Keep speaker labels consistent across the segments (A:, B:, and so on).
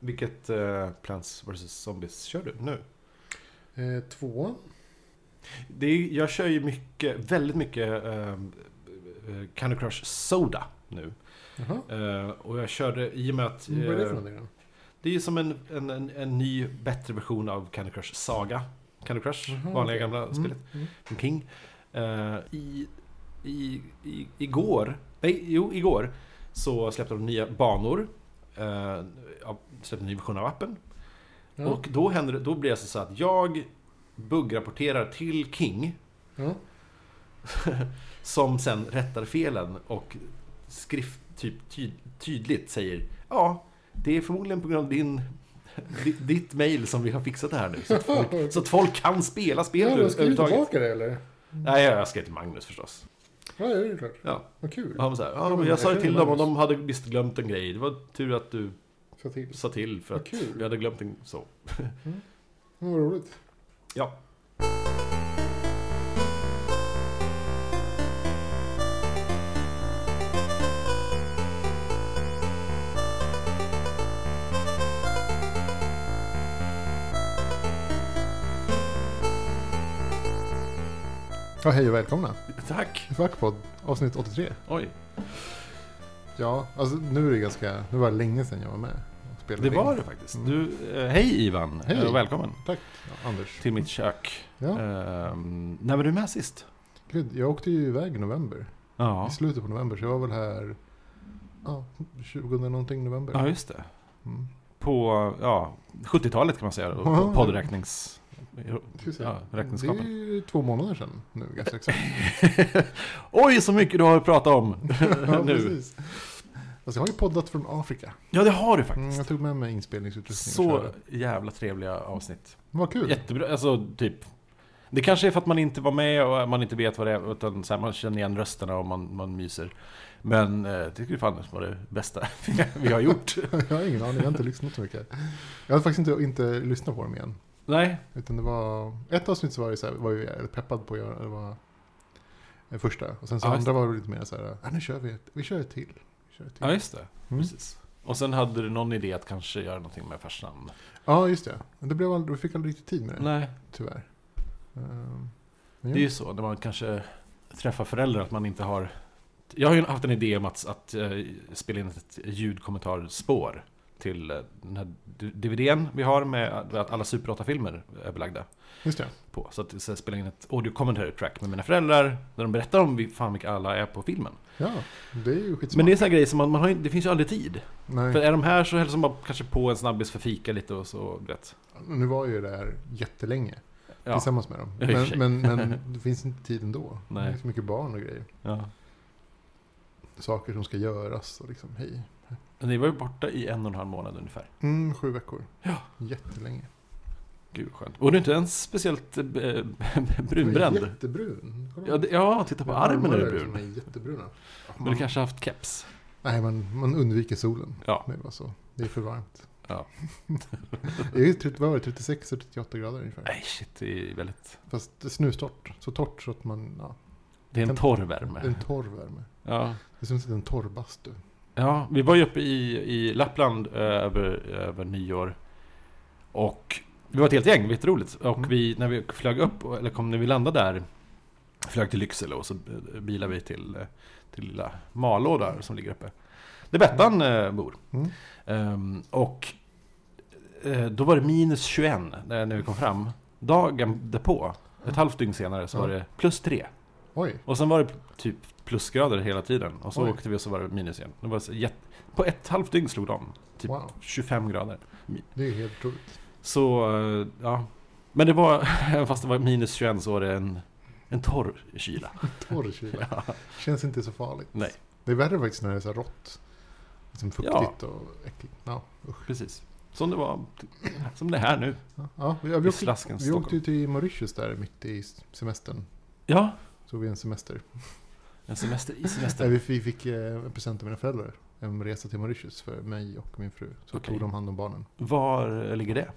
A: Vilket eh, Plants vs Zombies kör du nu?
B: Eh, två.
A: Det är, jag kör ju mycket, väldigt mycket eh, eh, Candy Crush Soda nu.
B: Jaha.
A: Eh, och jag körde i och med att...
B: Mm, Vad är det för
A: eh,
B: någonting då?
A: Det är ju som en, en, en, en ny, bättre version av Candy Crush Saga. Candy Crush,
B: Jaha,
A: vanliga
B: Mhm, okej.
A: gamla spelet
B: Mm.
A: från King. Eh, i, i, i, igår, nej, jo, igår så släppte de nya banor. Eh, ja, släppte en ny version av appen.
B: Ja.
A: Och då, händer, det- då blir det alltså så att jag buggrapporterar till King
B: Ja.
A: som sen rättar felen och skrift, typ, tyd, tydligt säger ja, det är förmodligen på grund av din di- ditt mail som vi har fixat det här nu. Så att folk, så att folk kan spela spelet
B: Ja,
A: över-
B: de skriver
A: överhuvudtaget.
B: tillbaka det eller?
A: Nej, jag skrev till Magnus förstås.
B: Ja, det är klart.
A: Ja.
B: Vad kul.
A: Och han var så här, ja,
B: men
A: men jag
B: jag
A: sa ju
B: känner
A: till dem och
B: Magnus.
A: de hade visst glömt en grej. Det var tur att du
B: Så till.
A: sa till för
B: Vad
A: att
B: kul.
A: vi hade glömt en så.
B: Mm, Vad roligt.
A: Ja.
B: Ja, hej och välkomna.
A: Tack!
B: Kvackpodd, avsnitt 83.
A: Oj.
B: Ja, alltså nu är det ganska... Det var länge sedan jag var med och spelade
A: Det var
B: in.
A: det faktiskt.
B: Mm.
A: Du, eh, hej Ivan!
B: Hej.
A: Eh, Välkommen
B: Tack, ja, Anders.
A: till mitt kök.
B: Ja.
A: Ehm, när var du med sist?
B: Gud, jag åkte ju iväg i november.
A: Ja,
B: I slutet på november, så jag var väl här... Ja, 20 någonting november.
A: ja just det.
B: Mm.
A: På ja, 70-talet kan man säga. då,
B: Ja.
A: På poddräknings...
B: Tusen.
A: Ja,
B: det
A: räkenskapen.
B: är ju två månader sedan nu, ganska exakt.
A: Oj, så mycket du har att prata om
B: ja,
A: nu.
B: precis. Alltså, jag har ju poddat från Afrika.
A: Ja, det har du
B: Mm,
A: faktiskt.
B: jag tog med mig inspelningsutrustning och
A: Så
B: körde.
A: jävla trevliga avsnitt.
B: Vad kul.
A: Jättebra, alltså typ. Det kanske är för att man inte var med och man inte vet vad det är, utan så här, man känner igen rösterna och man, man myser. Men eh, jag tycker fan det var det bästa vi har gjort.
B: jag har ingen aning, jag har inte lyssnat så mycket. Jag har faktiskt inte, inte lyssnat på dem igen.
A: Nej,
B: Utan det var, ett avsnitt så var, det så här, var jag väldigt peppad på att göra, det var det första. Och sen så
A: Ja, just
B: andra var det lite mer så här, ah, nu kör vi ett, vi kör ett till. Vi kör ett till.
A: ja just det.
B: Mm.
A: Precis. Och sen hade du någon idé att kanske göra någonting med farsan?
B: Ja, just det. Men det blev aldrig, vi fick aldrig riktigt tid med det,
A: Nej.
B: tyvärr. Ehm, men
A: Det är ju så, när man kanske träffar föräldrar, att man inte har... Jag har ju haft en idé om att, att eh, spela in ett ljudkommentarspår till eh, den här d- DVDn vi har med att alla Super 8-filmer är belagda
B: Just det.
A: på. Så att så här, spela in ett audio commentary track med mina föräldrar, där de berättar om vi- fan vilka alla är på filmen.
B: Ja, det är ju skitsmart.
A: Men det är en sån här grej som man, man har ju, det finns ju aldrig tid.
B: Nej,
A: För är de här så hälsar man kanske på en snabbis för fika lite och så, du vet.
B: nu var ju det här jättelänge
A: Ja,
B: tillsammans med dem.
A: Ja, i och för sig.
B: Men, men, men det finns inte tid ändå.
A: Nej.
B: Det är så mycket barn och grejer.
A: ja.
B: Saker som ska göras och liksom, hej.
A: Men ni var ju borta i en och en halv månad ungefär.
B: Mm, sju veckor.
A: Ja.
B: Jättelänge.
A: Gud vad skönt. Och du är inte ens speciellt eh, b- brunbränd.
B: Jag är Jättebrun. Kolla.
A: Ja, det, ja, titta på
B: Det
A: armen är
B: armar
A: du
B: Som
A: brun.
B: är liksom- jättebruna.
A: Men du
B: Man,
A: kanske har haft keps?
B: Nej, man, man undviker solen.
A: Ja.
B: Det är bara så. Det är för varmt.
A: Ja.
B: det är ju 30, vad var det, 36 och 38 grader ungefär.
A: Nej, shit, det är väldigt...
B: Fast det är snustort. Så torrt så att man... Ja,
A: Det är en
B: Kan-
A: torr
B: det
A: värme.
B: är en torr värme.
A: Ja.
B: Det är som att sitta i en torrbastu.
A: ja, vi var ju uppe i, i Lappland eh, över, över nyår. Och vi var ett helt gäng, jätteroligt. Och
B: Mm.
A: vi, när vi flög upp, eller kom när vi landade där, flög till Lycksele och så eh, bilade vi till, eh, till lilla Malå där som ligger uppe. Där Bettan eh, bor.
B: Mm.
A: Ehm, och eh, då var det minus 21 när, när vi kom fram. Dagen därpå, ett halvt dygn senare, så var
B: Ja.
A: det plus 3.
B: Oj.
A: Och sen var det typ plusgrader hela tiden. Och så
B: Oj.
A: åkte vi och så var det minus igen. Det var så jätt... På ett halvt dygn slog de. Typ
B: Wow.
A: 25 grader.
B: Det är ju helt otroligt.
A: Så, eh, ja. Men det var, även fast det var minus 21 så var det en, en torr kyla.
B: Torr kyla. Känns inte så farligt.
A: Nej.
B: Det är värre faktiskt när det är så här rått. Liksom fuktigt och äckligt. Ja, usch.
A: Precis. Som det var, som det är här nu.
B: Ja, ja, vi, vi
A: I
B: åkte,
A: slasken
B: vi åkte
A: Stockholm.
B: ju till Mauritius där mitt i semestern.
A: Ja,
B: Så vi en semester.
A: en semester i
B: Nej,
A: semester.
B: vi fick, vi fick eh, en present av mina föräldrar. En resa till Mauritius för mig och min fru. Så
A: Okej.
B: tog de hand om barnen.
A: Var ligger det?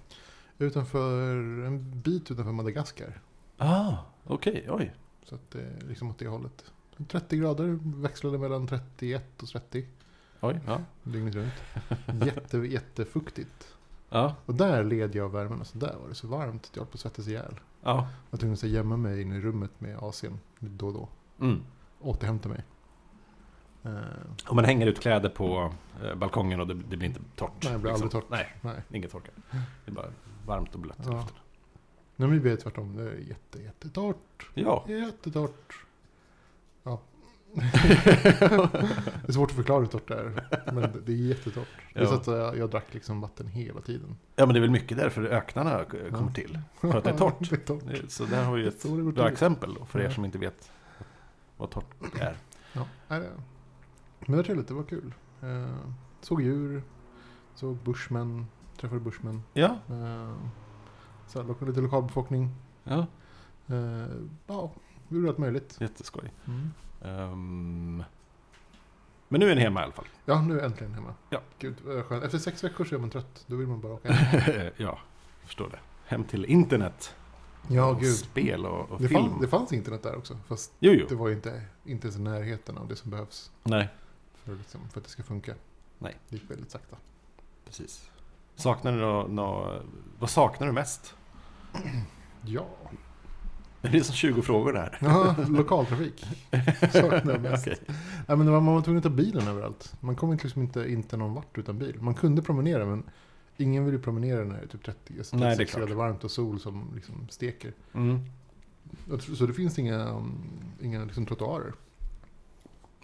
B: Utanför, en bit utanför Madagaskar.
A: Ah, okej, oj.
B: Så att det är liksom åt det hållet. 30 grader, växlade mellan 31 och 30
A: Oj, ja.
B: dygnet runt. Jätte, jättefuktigt.
A: Ja,
B: Och där led jag av värmen. Alltså där var det så varmt att jag höll på att svettas ihjäl.
A: ja.
B: Jag var tvungen att så här gömma mig inne i rummet med AC'n då och då.
A: Mm.
B: Återhämta mig. Eh,
A: Och man hänger ut kläder på eh, balkongen och det, det blir inte torrt. liksom.
B: Nej, det blir aldrig torrt.
A: Nej,
B: nej.
A: inget torka. Det är bara varmt och blött i
B: Ja.
A: luften.
B: Nej, men vi blev tvärtom. Det är jätte, jättetort.
A: Ja.
B: Jättetort. Ja. det är svårt att förklara hur torrt det är. Men det- det är jättetort. Det är så
A: Ja.
B: att jag, jag drack liksom vatten hela tiden.
A: ja, men det är väl mycket därför öknarna k- kommer till. För att det är torrt.
B: det är torrt.
A: Så där har vi ju ett
B: Så det går
A: bra
B: till.
A: exempel då, för er
B: Ja.
A: som inte vet vad torrt är.
B: Ja, nej, det- Men det var trevligt, det var kul. Eh, såg djur, såg bushmän, träffade bushmän.
A: Ja,
B: Eh, så här, lo- lite lokalbefolkning.
A: ja.
B: Eh, ja, vi gjorde allt möjligt. Mm.
A: jätteskoj. Ehm, men nu är ni hemma i alla fall.
B: Ja, nu är jag äntligen hemma.
A: Ja.
B: Gud, vad skönt. Efter sex veckor så är man trött. Då vill man bara åka hem.
A: ja, förstår det. Hem till internet.
B: Ja,
A: och
B: gud.
A: spel och, och
B: Det,
A: film.
B: fann, det fanns internet där också, fast
A: Jo, jo.
B: det var ju inte, inte ens i närheten av det som behövs
A: Nej,
B: för, liksom, för att det ska funka.
A: Nej.
B: Det gick väldigt sakta.
A: precis. Saknar du nå, nå, vad saknar du mest?
B: Ja,
A: Det är som 20 frågor där.
B: ja lokaltrafik saknar jag mest.
A: Okej.
B: Nej, men man var tvungen att ta bilen överallt. Man kom inte, liksom inte, inte någon vart utan bil. Man kunde promenera, men ingen ville promenera när det är typ 30 alltså
A: Nej, det är
B: 36
A: klart.
B: grader varmt och sol som liksom steker.
A: Mm.
B: Jag tror- Så det finns inga, um, inga liksom trottoarer.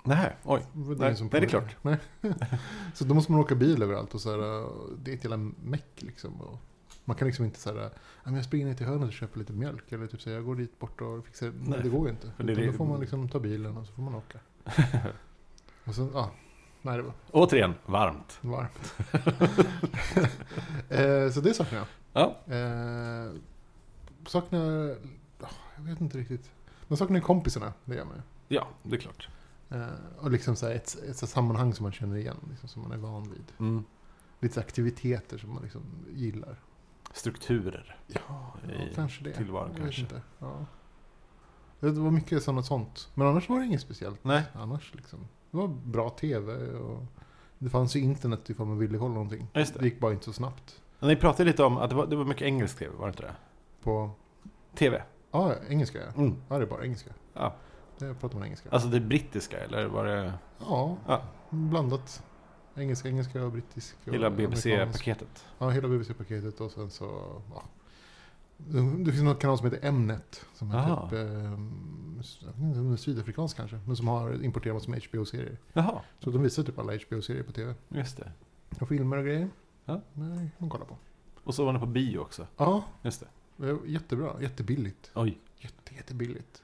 A: Nej, oj.
B: Det är
A: Nej,
B: ingen som
A: nej, det är
B: promenerar. Nej. så då måste man åka bil överallt och så här, uh, det är ett jävla meck liksom. Och man kan liksom inte så här, "Ja, men jag springer ner till hörnet och köper lite mjölk. Eller typ så här, jag går dit bort och fixar. Nej,
A: Nej.
B: det går ju inte.
A: För det är
B: Utan
A: det-
B: Då får man liksom ta bilen och så får man åka. och sen, ja. Nej, det var
A: Återigen, varmt.
B: varmt. eh, så det saknar jag.
A: Ja.
B: Eh, saknar, ah, jag vet inte riktigt. Man saknar ju kompisarna, det gör man ju.
A: Ja, det är klart.
B: Eh, och liksom så här ett, ett så här sammanhang som man känner igen, liksom, som man är van vid.
A: Mm.
B: Lite så här aktiviteter som man liksom gillar.
A: Strukturer.
B: Ja,
A: I
B: kanske det.
A: tillvaron
B: jag
A: kanske.
B: Vet inte. Ja. Det var mycket sånt, sånt. Men annars var det inget speciellt.
A: Nej.
B: Annars liksom. Det var bra tv och det fanns ju internet ifall man ville kolla någonting.
A: Just det.
B: det gick bara inte så snabbt.
A: Ni pratade lite om att det var, det var mycket engelsk tv, var det inte det?
B: På,
A: TV?
B: ja, engelska ja.
A: Mm.
B: Ja, det är bara engelska.
A: Ja.
B: Det pratar man engelska.
A: Alltså det brittiska, eller var det
B: ja,
A: Ja.
B: blandat. Engelska, engelska och brittisk. och
A: hela
B: amerikansk.
A: BBC-paketet?
B: Ja, hela BBC-paketet och sen så... Ja. Det finns någon kanal som heter Mnet. Som är
A: Aha.
B: typ... Eh, jag vet inte om den är sydafrikansk kanske. Men som har importerat som HBO-serier.
A: Jaha,
B: Så de visar typ alla HBO-serier på tv.
A: just det.
B: Och filmer och grejer.
A: Ja.
B: Nej, man kollar på.
A: Och så var ni på bio också.
B: Ja,
A: Just det.
B: det var jättebra. Jättebilligt.
A: Oj.
B: Jätte, jättebilligt.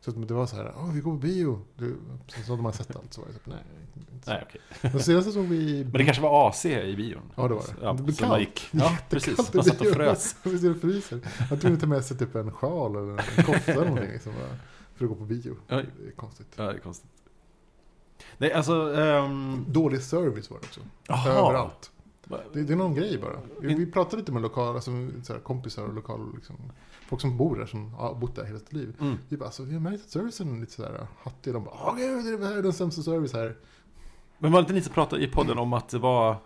B: Så att det var så här, "Åh, vi går på bio. Du, sen så hade man sett allt så var det så här, nej. Inte
A: Nej,
B: så.
A: okej.
B: Men senast såg vi...
A: Men det kanske var AC i bion?
B: Ja, det var det.
A: Ja,
B: Det blev
A: så man
B: kallt.
A: gick. Ja, precis.
B: Jättekallt i
A: Man satt och
B: bion.
A: frös.
B: Visst är det fryser? Man tror inte med sig typ en sjal eller en kofta eller någonting liksom, bara för att gå på bio.
A: Oj.
B: Det är konstigt.
A: Ja, det är konstigt. Nej, alltså... ehm,
B: Dålig service var det också.
A: Jaha.
B: Överallt.
A: va-
B: Det, det är någon grej bara. Vi, vi pratade lite med lokala alltså, så här, kompisar och lokal, liksom, folk som bor där, som har bott där hela sitt liv.
A: Mm.
B: Vi bara, alltså, vi har märkt att servicen är lite sådär hattig. De bara, åh gud, det här är den sämsta service här.
A: Men var det inte ni som pratade i podden om att det var...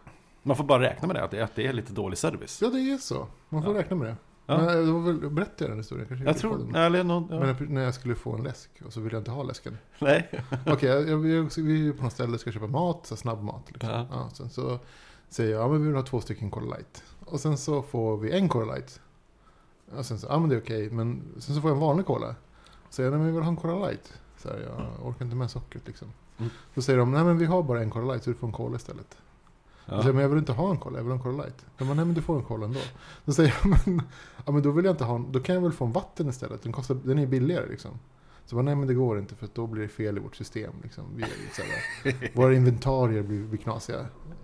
A: Man får bara räkna med det, att det, att det är lite dålig service?
B: Ja, det är så. Man får
A: Ja.
B: räkna med det.
A: Ja.
B: Men, det var väl, berättade jag den historien? Kanske
A: Jag
B: inte i
A: tror...
B: podden.
A: Nej, eller någon, ja.
B: Men när- när jag skulle få en läsk och så ville jag inte ha läsken.
A: Nej.
B: Okej, jag- jag- jag- vi är på något ställe och ska köpa mat, så här snabbmat. Liksom.
A: Ja.
B: Ja. sen så säger jag, ja men vi vill ha två stycken Cola Light. Och sen så får vi en Cola Light. Och sen så, ja men det är okej, men sen så får jag en vanlig Cola. Så säger jag, nej men vi vill ha en Cola Light. Så här, jag orkar inte med sockret liksom.
A: Mm.
B: Då säger de, nej men vi har bara en Cola Light, så du får en Cola istället. Jag säger,
A: Ja.
B: men jag vill inte ha en Cola, jag vill ha en Cola Light. De bara, nej men du får en Cola ändå. Då säger jag, men, ja, men då vill jag inte ha en, då kan jag väl få en vatten istället. Den, kostar, den är billigare liksom. Så jag bara, nej men det går inte för att då blir det fel i vårt system. Liksom. Vi är lite så här, våra inventarier blir, blir knasiga.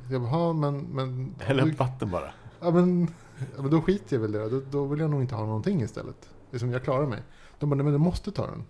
B: Så jag bara, "Ja, men, men,
A: Häll upp vatten bara.
B: ja, men, ja, men då skiter jag väl i det. Då, då vill jag nog inte ha någonting istället. Liksom, jag klarar mig. De bara, nej men du måste ta den.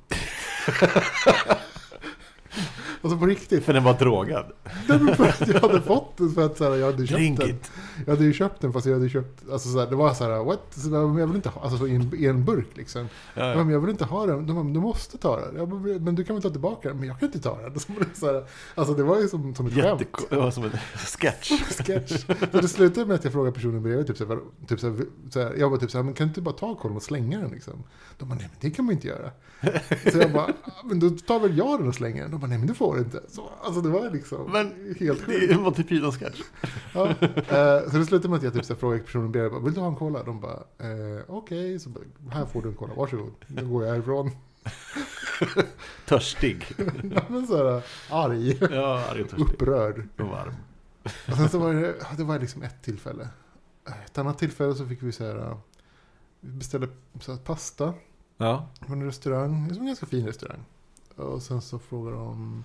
B: Alltså på riktigt.
A: För den var drogad.
B: Nej, men för att jag hade fått den för att så här, jag hade köpt
A: Drink
B: den.
A: it.
B: Jag hade ju köpt den fast jag hade köpt, alltså så här, det var så här, what? Så jag jag vill inte ha, alltså så i en, i en burk liksom.
A: Ja,
B: Ja.
A: ja.
B: Men jag vill inte ha den. De bara, du måste ta den. Jag bara, men du kan väl ta tillbaka den? Men jag kan inte ta den. Så var det så här, alltså det var ju som, som ett skämt.
A: Jättek- det var som en sketch.
B: Sketch. Så det slutade med att jag frågade personen bredvid, typ så här, typ så här, så här, jag bara typ så här, men kan du inte bara ta kollen och slänga den liksom? De bara, nej men det kan man ju inte göra. Så jag bara, "Ah, men då tar väl jag den och slänger den? De bara, nej men det får du inte. Så, alltså det var liksom
A: Men
B: helt sjukt.
A: Det var typ en sketch.
B: Ja. eh, Så det slutade med att jag typ så här frågade personen bredvid, bara, vill du ha en cola? De bara, eh, okej, så bara, här får du en cola, varsågod. Nu går jag härifrån.
A: Törstig.
B: Ja, men så här, arg,
A: Ja, arg och törstig.
B: upprörd.
A: Och varm.
B: Och sen så var det, ja, det var liksom ett tillfälle. Ett annat tillfälle så fick vi så här, eh, vi beställde så här pasta
A: Ja.
B: från en restaurang, det var en ganska fin restaurang. Och sen så frågade de,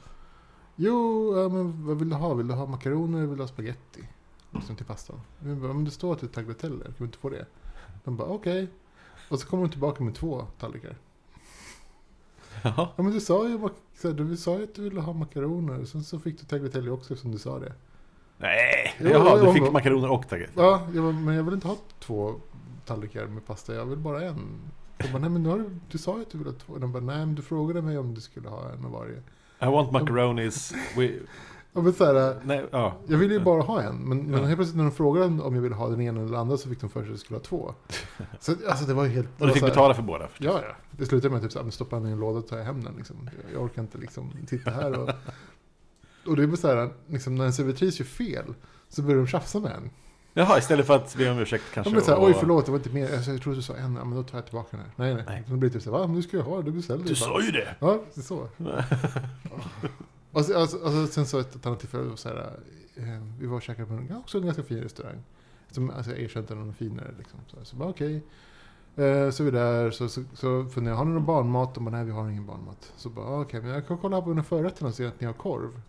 B: jo, ja, men vad vill du ha? Vill du ha makaroner eller vill du ha spagetti? Liksom till pastan. Vi bara, men det står att det är tagliatelle, kan vi inte få det? De bara, okej. Och så kommer de tillbaka med två tallrikar.
A: Jaha.
B: Ja men du sa ju, mak- så här, du sa ju att du ville ha makaroner, sen så fick du tagliatelle också eftersom du sa det.
A: Nej,
B: Jo,
A: Jaha,
B: jo,
A: du fick
B: men-
A: makaroner och taggat.
B: Ja, jag bara, men jag vill inte ha två tallrikar med pasta, jag vill bara en. De bara, nej men nu har du, du sa ju att du ville ha två. De bara, nej men du frågade mig om du skulle ha en av varje.
A: I want macaronis. We...
B: Ja, men så här,
A: Nej, ja.
B: jag ville ju bara ha en, men, men
A: Ja.
B: helt plötsligt när de frågade om jag ville ha den ena eller den andra så fick de för sig att jag skulle ha två. Så alltså det var ju helt... det
A: Och du
B: var
A: fick
B: så här-
A: betala för båda. förstås.
B: Ja, ja. Det slutade med att typ så här, men stoppa den i en låda och ta hem den. Liksom. Jag- Jag orkar inte liksom titta här och... Och det är bara så här, liksom, när en servitris gör fel så börjar de tjafsa med en.
A: Jaha, istället för att be om ursäkt
B: Ja,
A: kanske.
B: men så här,
A: och-
B: oj förlåt, det var inte mer. Alltså, jag trodde du sa en, ja, men då tar jag tillbaka den här. Nej, nej.
A: Nej.
B: Så då blir det typ så här, va? Men du ska ju ha, det, du beställde
A: Du
B: ju bara."
A: sa ju det!
B: Ja, det är så. och så, alltså, alltså, sen så ett ett annat tillfälle, var så här, eh, vi var och käkade på en, ja, också en ganska fin restaurang. Som, alltså, jag erkände den var finare. Liksom. Så, så bara okej. Eh, så är vi där, så, så, så funderar jag, har ni någon barnmat? De bara, nej vi har ingen barnmat. Så bara, "Ah, okej, men jag kan kolla på under förrätterna och se att ni har korv.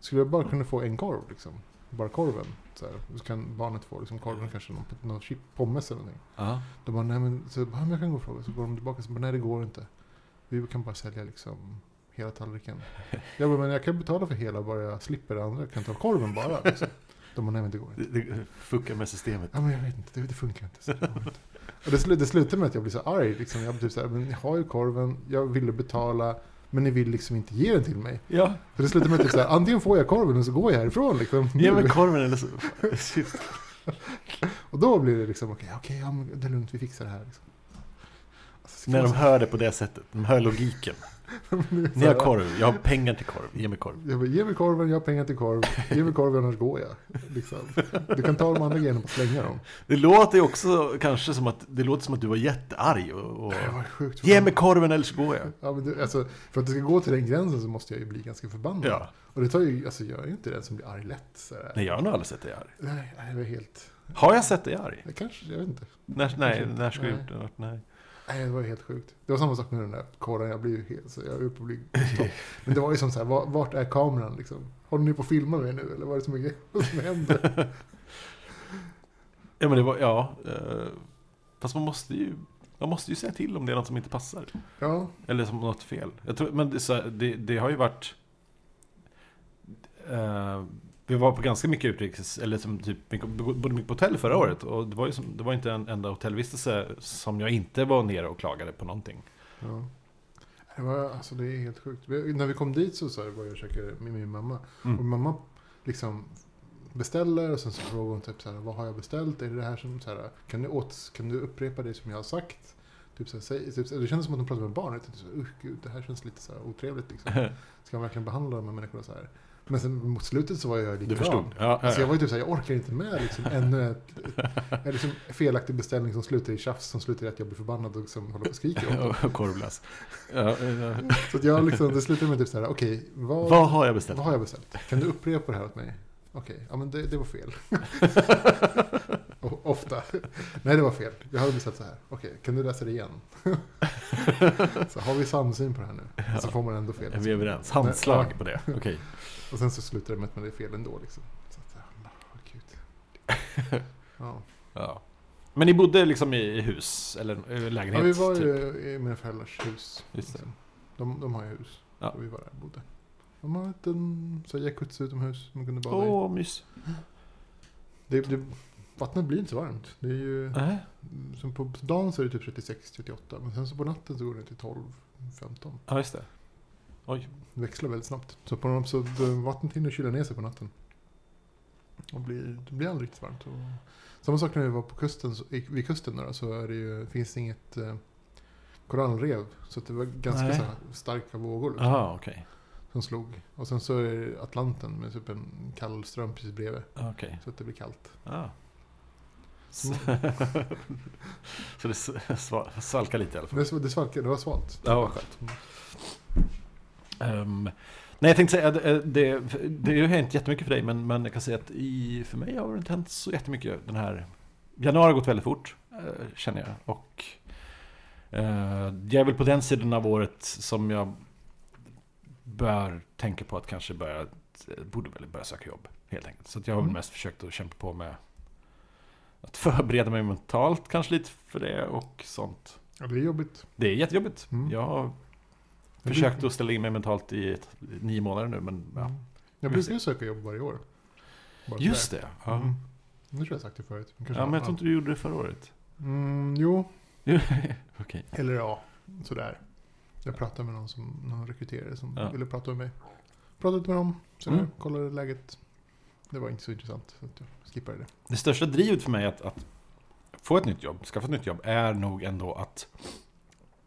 B: Skulle jag bara kunna få en korv liksom? Bara korven. Så, här. så kan barnet få liksom, korven kanske någon, någon chip, pommes eller någonting.
A: Ja.
B: De bara, nej men, så, jag bara, men jag kan gå och fråga. Så går de tillbaka och bara, nej det går inte. Vi kan bara sälja liksom hela tallriken. Jag bara, men jag kan betala för hela bara jag slipper det andra. Jag kan ta korven bara. Liksom. De bara, nej men det går inte.
A: Det, det fuckar med systemet.
B: Ja men jag vet inte, det, det funkar inte. Så det, går inte. Och det, slu- det slutar med att jag blir så arg. Liksom. Jag blir typ så här, men ni har ju korven, jag ville betala. Men ni vill liksom inte ge den till mig.
A: Ja,
B: Så det slutar med typ så här, antingen får jag korven eller så går jag härifrån. Liksom.
A: ge mig korven eller så. Shit.
B: Och då blir det liksom, okej, okej, ja, men det är lugnt, vi fixar det här. Liksom. Alltså,
A: När de hör det på det sättet, de hör logiken. Ni har korv, jag har pengar till korv, ge mig korv.
B: Jag bara, ge mig korven, jag har pengar till korv. Ge mig korven, annars går jag. Liksom. Du kan ta de andra grejerna och slänga dem.
A: Det låter ju också kanske som att, det låter som att du var jättearg och... och...
B: Det var sjukt.
A: Ge mig korven eller så går jag.
B: Ja, men det, alltså, för att det ska gå till den gränsen så måste jag ju bli ganska förbannad.
A: Ja.
B: Och det tar ju, alltså, jag är ju inte den som blir arg lätt. Så här.
A: Nej, jag har nog aldrig sett dig arg.
B: Nej, nej, det var helt...
A: Har jag sett dig arg?
B: Det kanske, jag vet inte.
A: När, nej, när skulle
B: Nej.
A: jag gjort det? Nej.
B: Nej, det var helt sjukt. Det var samma sak med den där korven, jag blev ju helt... Så jag är uppe och blir stopp. Men det var ju som så här, var- vart är kameran liksom? Håller ni på att filma mig nu eller vad är det som, är, vad som händer?
A: Ja, men det var, ja. Eh, fast man måste ju, man måste ju säga till om det är något som inte passar.
B: Ja,
A: Eller som något fel. Jag tror, men det, så här, det, det har ju varit... Eh, vi var på ganska mycket utrikes, eller som typ, mycket- bodde mycket på hotell förra året. Och det var ju som, det var inte en enda hotellvistelse som jag inte var nere och klagade på någonting.
B: Ja. Det, var, alltså, det är helt sjukt. Vi- När vi kom dit så, så här, var jag och käkade med min mamma.
A: Mm.
B: Och mamma liksom beställer och sen så frågar hon typ så här, vad har jag beställt? Är det det här som så här, kan du, åt, kan du upprepa det som jag har sagt? Typ så här, säg, typ, så här- det kändes som att hon pratade med barn. Jag tänkte så här, usch gud, det här känns lite så här otrevligt liksom. Ska man verkligen behandla de här människorna så här? Men sen mot slutet så var jag likadan.
A: Du förstod? Ja, ja,
B: Alltså jag var ju typ såhär, jag orkar inte med liksom ännu ett, ett, en liksom felaktig beställning som slutar i tjafs, som slutar i att jag blir förbannad och liksom håller på och skriker åt dem.
A: ja. Och korvglass. Ja, eh,
B: Så att jag liksom, det slutade med typ så här, okej, vad,
A: vad har jag
B: vad
A: beställt?
B: har jag beställt? Kan du upprepa det här åt mig? Okej, ja men det, det var fel. O- Ofta. Nej, det var fel. Jag hade beställt så här. Okej, kan du läsa det igen? så har vi samsyn på det här nu? Och så får man ändå fel.
A: Är vi överens? Handslag på det. Okej.
B: Och sen så slutar det med att man är fel ändå liksom. Så att, ja, vad gud. Ja.
A: Ja. Men ni bodde liksom i i hus eller eh, lägenhet?
B: ja, vi var
A: typ.
B: ju i mina föräldrars hus.
A: Just det.
B: De, de har ju hus.
A: Ja.
B: Och vi var där och bodde. De har en liten så här jacuzzi utomhus man kunde bada
A: Åh,
B: i.
A: mys.
B: Det, det, vattnet blir inte så varmt. Det är ju,
A: Äh.
B: som på dagen så är det typ 36-38 men sen så på natten så går det till 12-15.
A: Ja, just det.
B: Det växlar väldigt snabbt. Så, på någon, så eh, vattnet hinner kyla ner sig på natten. Och blir, det blir aldrig riktigt varmt. Och, samma sak när vi var på kusten, så, i- vid kusten då, så är det ju, finns det inget eh, korallrev. Så att det var ganska
A: Nej.
B: så här, starka vågor liksom,
A: Jaha, okej.
B: som slog. Och sen så är det Atlanten med typ en kall ström precis bredvid.
A: Okej.
B: Så att det blir kallt.
A: Ah. Så, så det s- sva- svalkar lite i alla fall.
B: Men det, det svalkade, det var svalt.
A: Ja, vad skönt. Ehm, nej, jag tänkte säga, det, det, det har hänt jättemycket för dig, men, men jag kan säga att i, för mig har det inte hänt så jättemycket den här... Januari har gått väldigt fort, eh, känner jag. Och eh, jag är väl på den sidan av året som jag bör tänka på att kanske börja, eh, borde väl börja söka jobb, helt enkelt. Så att jag har väl
B: Mm.
A: mest försökt att kämpa på med att förbereda mig mentalt kanske lite för det och sånt.
B: Ja, det är jobbigt.
A: Det är jättejobbigt.
B: Mm.
A: Jag har
B: Jag
A: försökt
B: brukar-
A: att ställa in mig mentalt i ett, nio månader nu, men
B: Mm.
A: ja.
B: Jag brukar ju söka jobb varje år. Bara
A: Just det.
B: sådär.
A: Ja.
B: Mm. Det tror jag jag sagt det förut. Men kanske-
A: ja, men jag tror inte du gjorde det förra året.
B: mm, Jo,
A: Okej.
B: Eller ja, sådär. Jag pratade med någon, som, någon rekryterare som
A: Ja.
B: ville prata med mig. Pratade med dem, så nu
A: Mm.
B: kollade läget. Det var inte så intressant, så att jag skippade det.
A: Det största drivet för mig att, att få ett nytt jobb, skaffa ett nytt jobb, är nog ändå att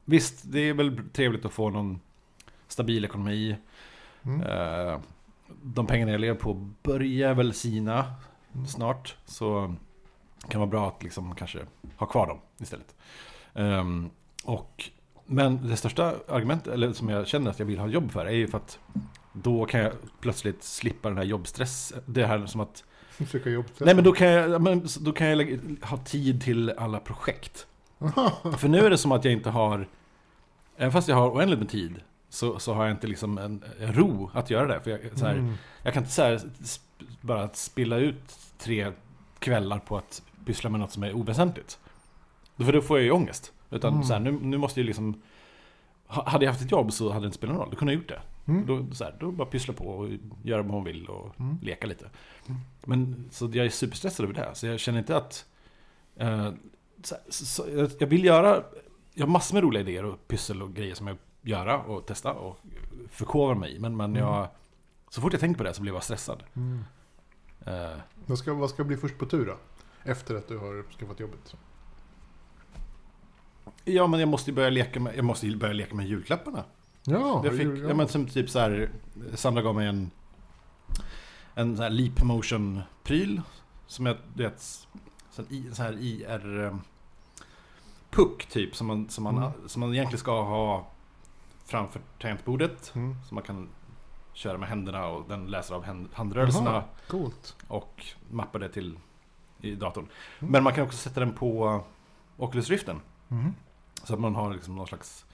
A: Visst, det är väl trevligt att få någon stabil ekonomi.
B: Mm.
A: Eh, De pengarna jag lever på börjar väl sina
B: Mm.
A: snart. Så kan vara bra att liksom kanske ha kvar dem istället. Ehm, och, men det största argumentet, eller som jag känner att jag vill ha jobb för, är ju för att då kan jag plötsligt slippa den här jobbstress. Det här som att,
B: Söka jobb.
A: nej men då kan jag, ja, men, så då kan jag lägga, ha tid till alla projekt. För nu är det som att jag inte har, även fast jag har oändligt med tid, så, så har jag inte liksom en, en ro att göra det. För jag, så här,
B: Mm.
A: jag kan inte så här, sp- bara att spilla ut tre kvällar på att pyssla med något som är oväsentligt. För då får jag ju ångest. Utan
B: Mm.
A: så här, nu, nu måste jag liksom... ha- Hade jag haft ett jobb så hade det inte spelat någon roll. Då kunde jag gjort det.
B: Mm.
A: Då, så här, då bara pyssla på och göra vad hon vill och
B: Mm.
A: leka lite.
B: Mm.
A: Men så jag är superstressad över det. här, Så jag känner inte att... Eh, så, så, så, jag- jag vill göra... Jag har massor med roliga idéer och pyssel och grejer som jag vill göra och testa och förkovra mig i. Men, men
B: Mm.
A: jag... Så fort jag tänker på det så blir jag bara stressad.
B: Mm.
A: Eh,
B: Vad, ska, vad ska bli först på tur då? Efter att du har skaffat jobbet.
A: ja, men jag måste ju börja leka med, jag måste ju börja leka med julklapparna.
B: Ja,
A: jag fick,
B: ju-
A: ja, men som typ så här, Sandra gav mig en, en så här Leap Motion-pryl. Som jag, du vet, så här, i- så här IR... eh, Puck typ, som man, som, man,
B: Mm.
A: som man egentligen ska ha framför tangentbordet.
B: Mm.
A: Som man kan köra med händerna och den läser av hand, handrörelserna.
B: Jaha. Coolt.
A: och mappar det till i datorn.
B: Mm.
A: Men man kan också sätta den på Oculus Riften.
B: Mm.
A: Så att man har liksom någon slags...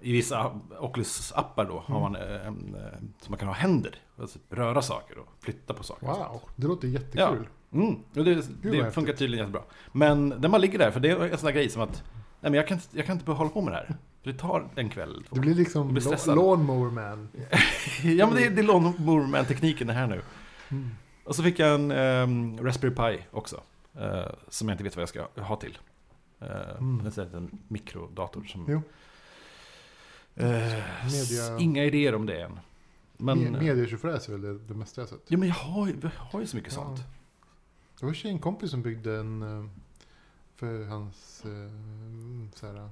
A: I vissa Oculus-appar då har
B: Mm.
A: man eh, en, eh, så man kan ha händer. Alltså röra saker och flytta på saker. och sånt.
B: Wow, det låter jättekul.
A: Mm, och det,
B: vad
A: det
B: häftigt.
A: funkar tydligen jättebra. Men den bara ligger där, för det är en sån där grej som att Nej men jag kan, inte- jag kan inte bara hålla på med det här. För det tar en kväll. två.
B: Det blir liksom
A: Jag blir
B: la-
A: stressad.
B: Lawnmower Man.
A: ja men det, är- det är Lawnmower Man-tekniken det här nu.
B: Mm.
A: Och så fick jag en ehm, Raspberry Pi också. eh, som jag inte vet vad jag ska ha till. Uh,
B: Mm.
A: En sån här liten mikrodator som...
B: Jo.
A: Eh, s-
B: Media-
A: Inga idéer om det än. Men,
B: Men... Medietjofräs är väl det, det mesta jag sett.
A: ja, men jag, har, ju- jag har ju så mycket
B: Ja.
A: sånt.
B: Det var en kompis som byggde en eh, för hans eh, så här, eh,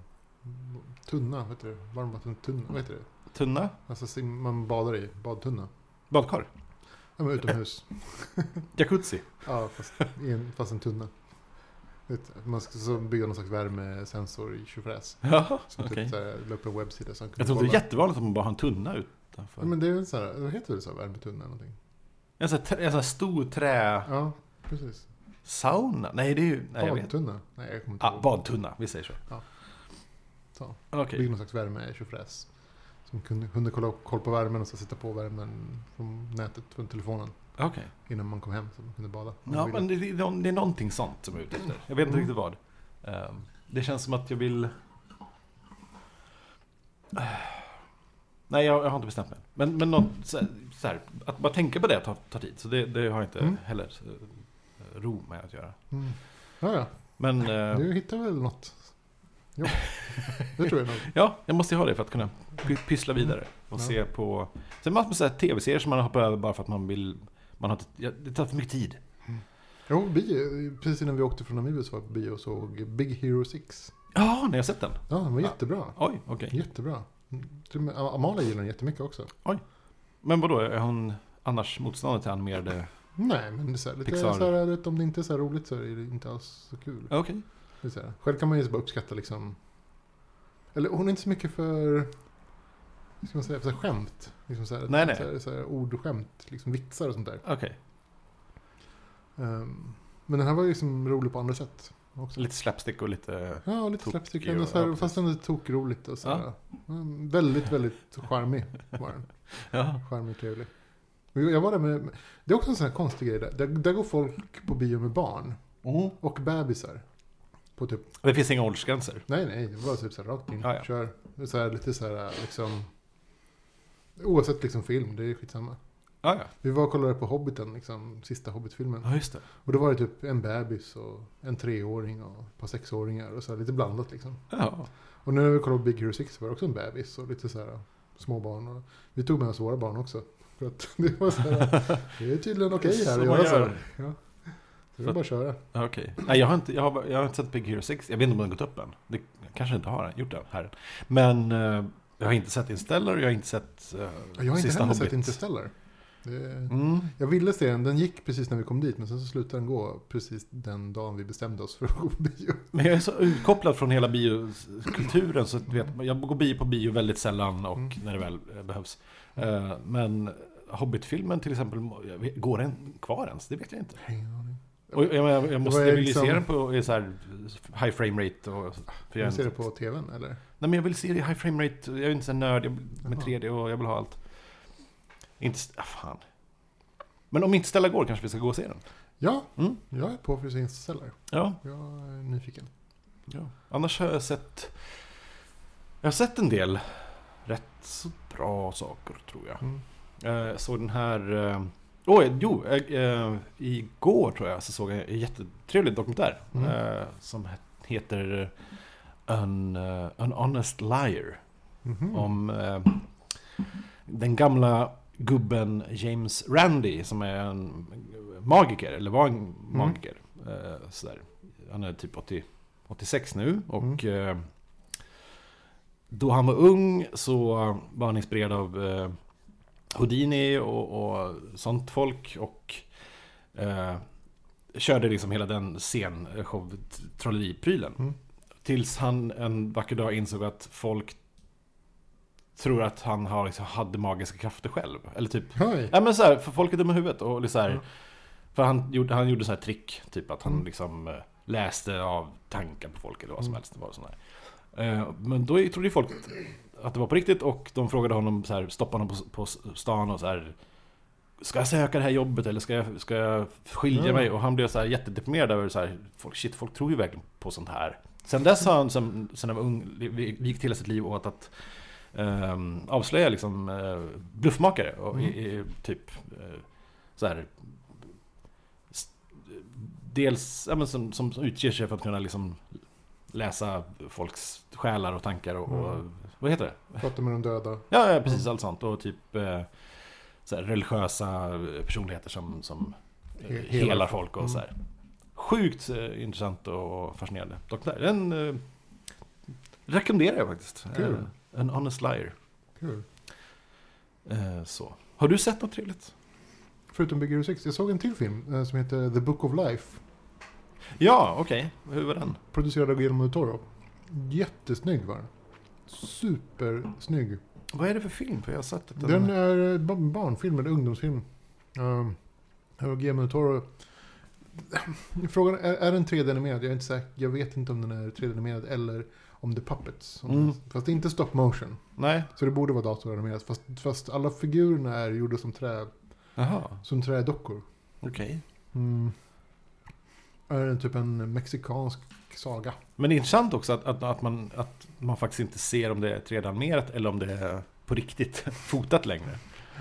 B: tunna, vad heter det? Varmvattentunna, vad heter det?
A: Tunna,
B: Alltså sim- man badar i, badtunna.
A: badkar,
B: Ja, men utomhus.
A: jacuzzi.
B: Ja, fast, i en, fast en tunna. Vet, Man ska så bygga någon slags värmesensor i tjofräs.
A: Jaha,
B: Som
A: okej.
B: typ så här, la upp en webbsida så han kunde
A: Jag tror att det
B: kolla.
A: är jättevanligt att man bara har en tunna utanför.
B: Ja, men det är väl så här, vad heter det så här, värmetunna eller någonting?
A: En sån här, trä- en sån här stor träsauna?
B: Ja, precis.
A: Nej, det är ju... Ah. Nej, jag vet.
B: Badtunna? Nej, jag kommer inte
A: Ah, badtunna, vi säger så.
B: Ja. Så.
A: Okej.
B: Bygga någon slags värme i tjofräs. Som kunde, kunde kolla, koll på värmen och så sätta på värmen från nätet, från telefonen.
A: okej.
B: Innan man kom hem så man kunde bada. om
A: Ja,
B: man ville.
A: men det, det, är någon- det är någonting sånt som jag är ute efter. Jag vet inte
B: Mm.
A: riktigt vad. Ehm, Det känns som att jag vill... Nej, jag, jag har inte bestämt mig. Men, men något, så, så här, att bara tänka på det tar, tar tid. Så det, det har jag inte
B: Mm.
A: heller eh, ro med att göra.
B: Mm. Ja, ja.
A: Men eh,
B: Du hittar väl något? Jo, det tror jag nog.
A: ja, jag måste ju ha det för att kunna py- pyssla vidare. Och
B: Ja.
A: se på... Sen massor med så här tv-serier som man hoppar över bara för att man vill... Man har, inte- ja, det tar för mycket tid.
B: Jo, bio, precis innan vi åkte från Namibia så var vi på bio och såg Big Hero 6.
A: Ja, när jag sett den.
B: Ja, den var
A: Ja.
B: jättebra.
A: Oj, Ah. okej.
B: Jättebra. Mm, till och med- Amalia gillar den jättemycket också.
A: Men vadå, är hon annars motståndare till animerade...
B: Nej, men det är så här, lite så
A: Pixar.
B: här, du vet, om det inte är så här roligt så är det inte alls så kul.
A: Okej.
B: Det är så här. Själv kan man ju bara uppskatta liksom... Eller hon är inte så mycket för... Vad ska man säga? För så här, skämt. Liksom så här,
A: Nej, nej.
B: Så här, så här, ord och skämt. Liksom vitsar och sånt där.
A: Okej.
B: Ehm, men den här var ju liksom rolig på andra sätt. Också.
A: Lite slapstick och lite...
B: Ja, lite
A: Tokig
B: slapstick.
A: och-
B: ändå så här,
A: ja,
B: Fast ändå tokroligt och så här. Mm, Väldigt, väldigt charmig var den.
A: Ja.
B: Charmig och trevlig. Och Jag jag var där med, det är också en sån här konstig grej där. där. Där går folk på bio med barn och bebisar. På typ,
A: Det finns inga åldersgränser.
B: nej nej, det var typ så här rakt in.
A: Ja, ja.
B: Kör. Det är Så här, lite så här liksom. Oavsett liksom film, det är skitsamma.
A: Ja, ja.
B: Vi var och kollade på Hobbiten, liksom, sista Hobbit-filmen.
A: Ja, just det.
B: Och då var det typ en bebis och en treåring och ett par sexåringar och så här, lite blandat liksom.
A: Ja.
B: Och nu när vi kollade på Big Hero 6 så var det också en bebis och lite så här småbarn. Och vi tog med oss våra barn också. För att det var så här, det är tydligen okej här
A: Som
B: att
A: man
B: göra så.
A: gör.
B: här. Ja. Så det är bara att köra.
A: Ja, Okej. Nej, jag har, inte, jag, har, jag har inte sett Big Hero 6. Jag vet inte om den har gått upp än. Det kanske inte har gjort det här. Men eh, jag har inte sett Interstellar och jag har inte sett eh,
B: Jag har inte
A: Sista
B: heller
A: Hobbit.
B: sett Interstellar. Det,
A: Mm.
B: jag ville se den, den gick precis när vi kom dit men sen så slutade den gå precis den dagen vi bestämde oss för att gå på bio.
A: Men jag är så utkopplad från hela biokulturen så att, du vet, jag går bio på bio väldigt sällan och
B: Mm.
A: när det väl eh, behövs. Eh, men Hobbit-filmen till exempel, jag vet- går den kvar ens? Det vet jag inte.
B: Ingen aning.
A: Och jag, jag, jag, måste,
B: var
A: jag vill ju
B: liksom-
A: se den på i så här, high frame rate. Och, för jag, är
B: Jag ser det
A: inte,
B: på tvn eller?
A: nej men jag vill se det i high frame rate. Jag är inte så här nörd jag, med
B: Jaha.
A: 3D och jag vill ha allt. Inte, ah, fan. Men om inte ställa går kanske vi ska gå och se den.
B: Ja,
A: Mm.
B: jag är på för att se Interstellar.
A: Ja.
B: Jag är nyfiken.
A: ja. Annars har jag sett... Jag har sett en del rätt så bra saker tror jag.
B: Mm.
A: Eh, såg den här... Eh, oj, jo, eh, eh, igår tror jag så såg jag en jättetrevlig dokumentär.
B: Mm.
A: Eh, som het- heter An, eh, An Honest Liar.
B: Mhm.
A: Om eh, den gamla gubben James Randi som är en magiker, eller var en magiker. Eh, sådär. Han är typ 80, 86 nu och eh, då han var ung så var han inspirerad av eh, Houdini och, och sånt folk och eh, körde liksom hela den scenshow-trolleriprylen.
B: Mm.
A: Tills han en vacker dag insåg att folk tror att han har, liksom, hade magiska krafter själv. Eller typ,
B: Oj.
A: ja men så här, för folk är dumma i huvudet och liksom så här,
B: Mm.
A: För han gjorde, han gjorde så här trick, typ att han
B: Mm.
A: liksom eh, läste av tankar på folk eller vad som
B: Mm.
A: helst. Det var sån här. Eh, Men då trodde ju folk att det var på riktigt och de frågade honom så här, stoppade honom på, på stan och så här Ska jag söka det här jobbet eller ska jag, ska jag skilja
B: Mm.
A: mig? Och han blev så här jättedeprimerad över så här, folk, shit, folk tror ju verkligen på sånt här. Sen dess har han, sen, sen han var ung, li- vigt hela sitt liv åt att ehm, avslöja liksom eh, bluffmakare och i, i, typ eh, så här s- Dels ja, men som, som, som utger sig för att kunna liksom läsa folks själar och tankar och, och
B: Mm.
A: vad heter det?
B: Prata med de döda.
A: Ja, ja precis, allt sånt. Och typ eh, så här, religiösa eh, personligheter som, som eh,
B: He- helar
A: helar
B: folk.
A: folk och
B: Mm.
A: så här. Sjukt eh, intressant och fascinerande dokumentär. Den eh, rekommenderar jag faktiskt.
B: Kul.
A: Eh, en honest liar.
B: Kul.
A: Eh, så. Har du sett något trevligt?
B: Förutom Big Hero 6, jag såg en till film eh, som heter The Book of Life.
A: Ja, okej. Hur var den?
B: Producerad av Guillermo del Toro. Jättesnygg var den. Supersnygg.
A: Vad är det för film? För jag har sett att
B: Den är eh, ba- barnfilm eller ungdomsfilm. Um, Guillermo del Toro. Frågan är, är den 3D-animerad? Jag är inte säker. Jag vet inte om den är 3D-animerad eller om det är puppets. Om-
A: Mm.
B: Fast det är inte stop motion.
A: Nej.
B: Så det borde vara datoranimerat. Fast, fast alla figurerna är gjorda som, trä,
A: Jaha,
B: som trädockor.
A: okej.
B: Mm. Är det typ en mexikansk saga?
A: Men det är intressant också att, att, att, man, att man faktiskt inte ser om det är 3D-animerat eller om det är på riktigt fotat längre.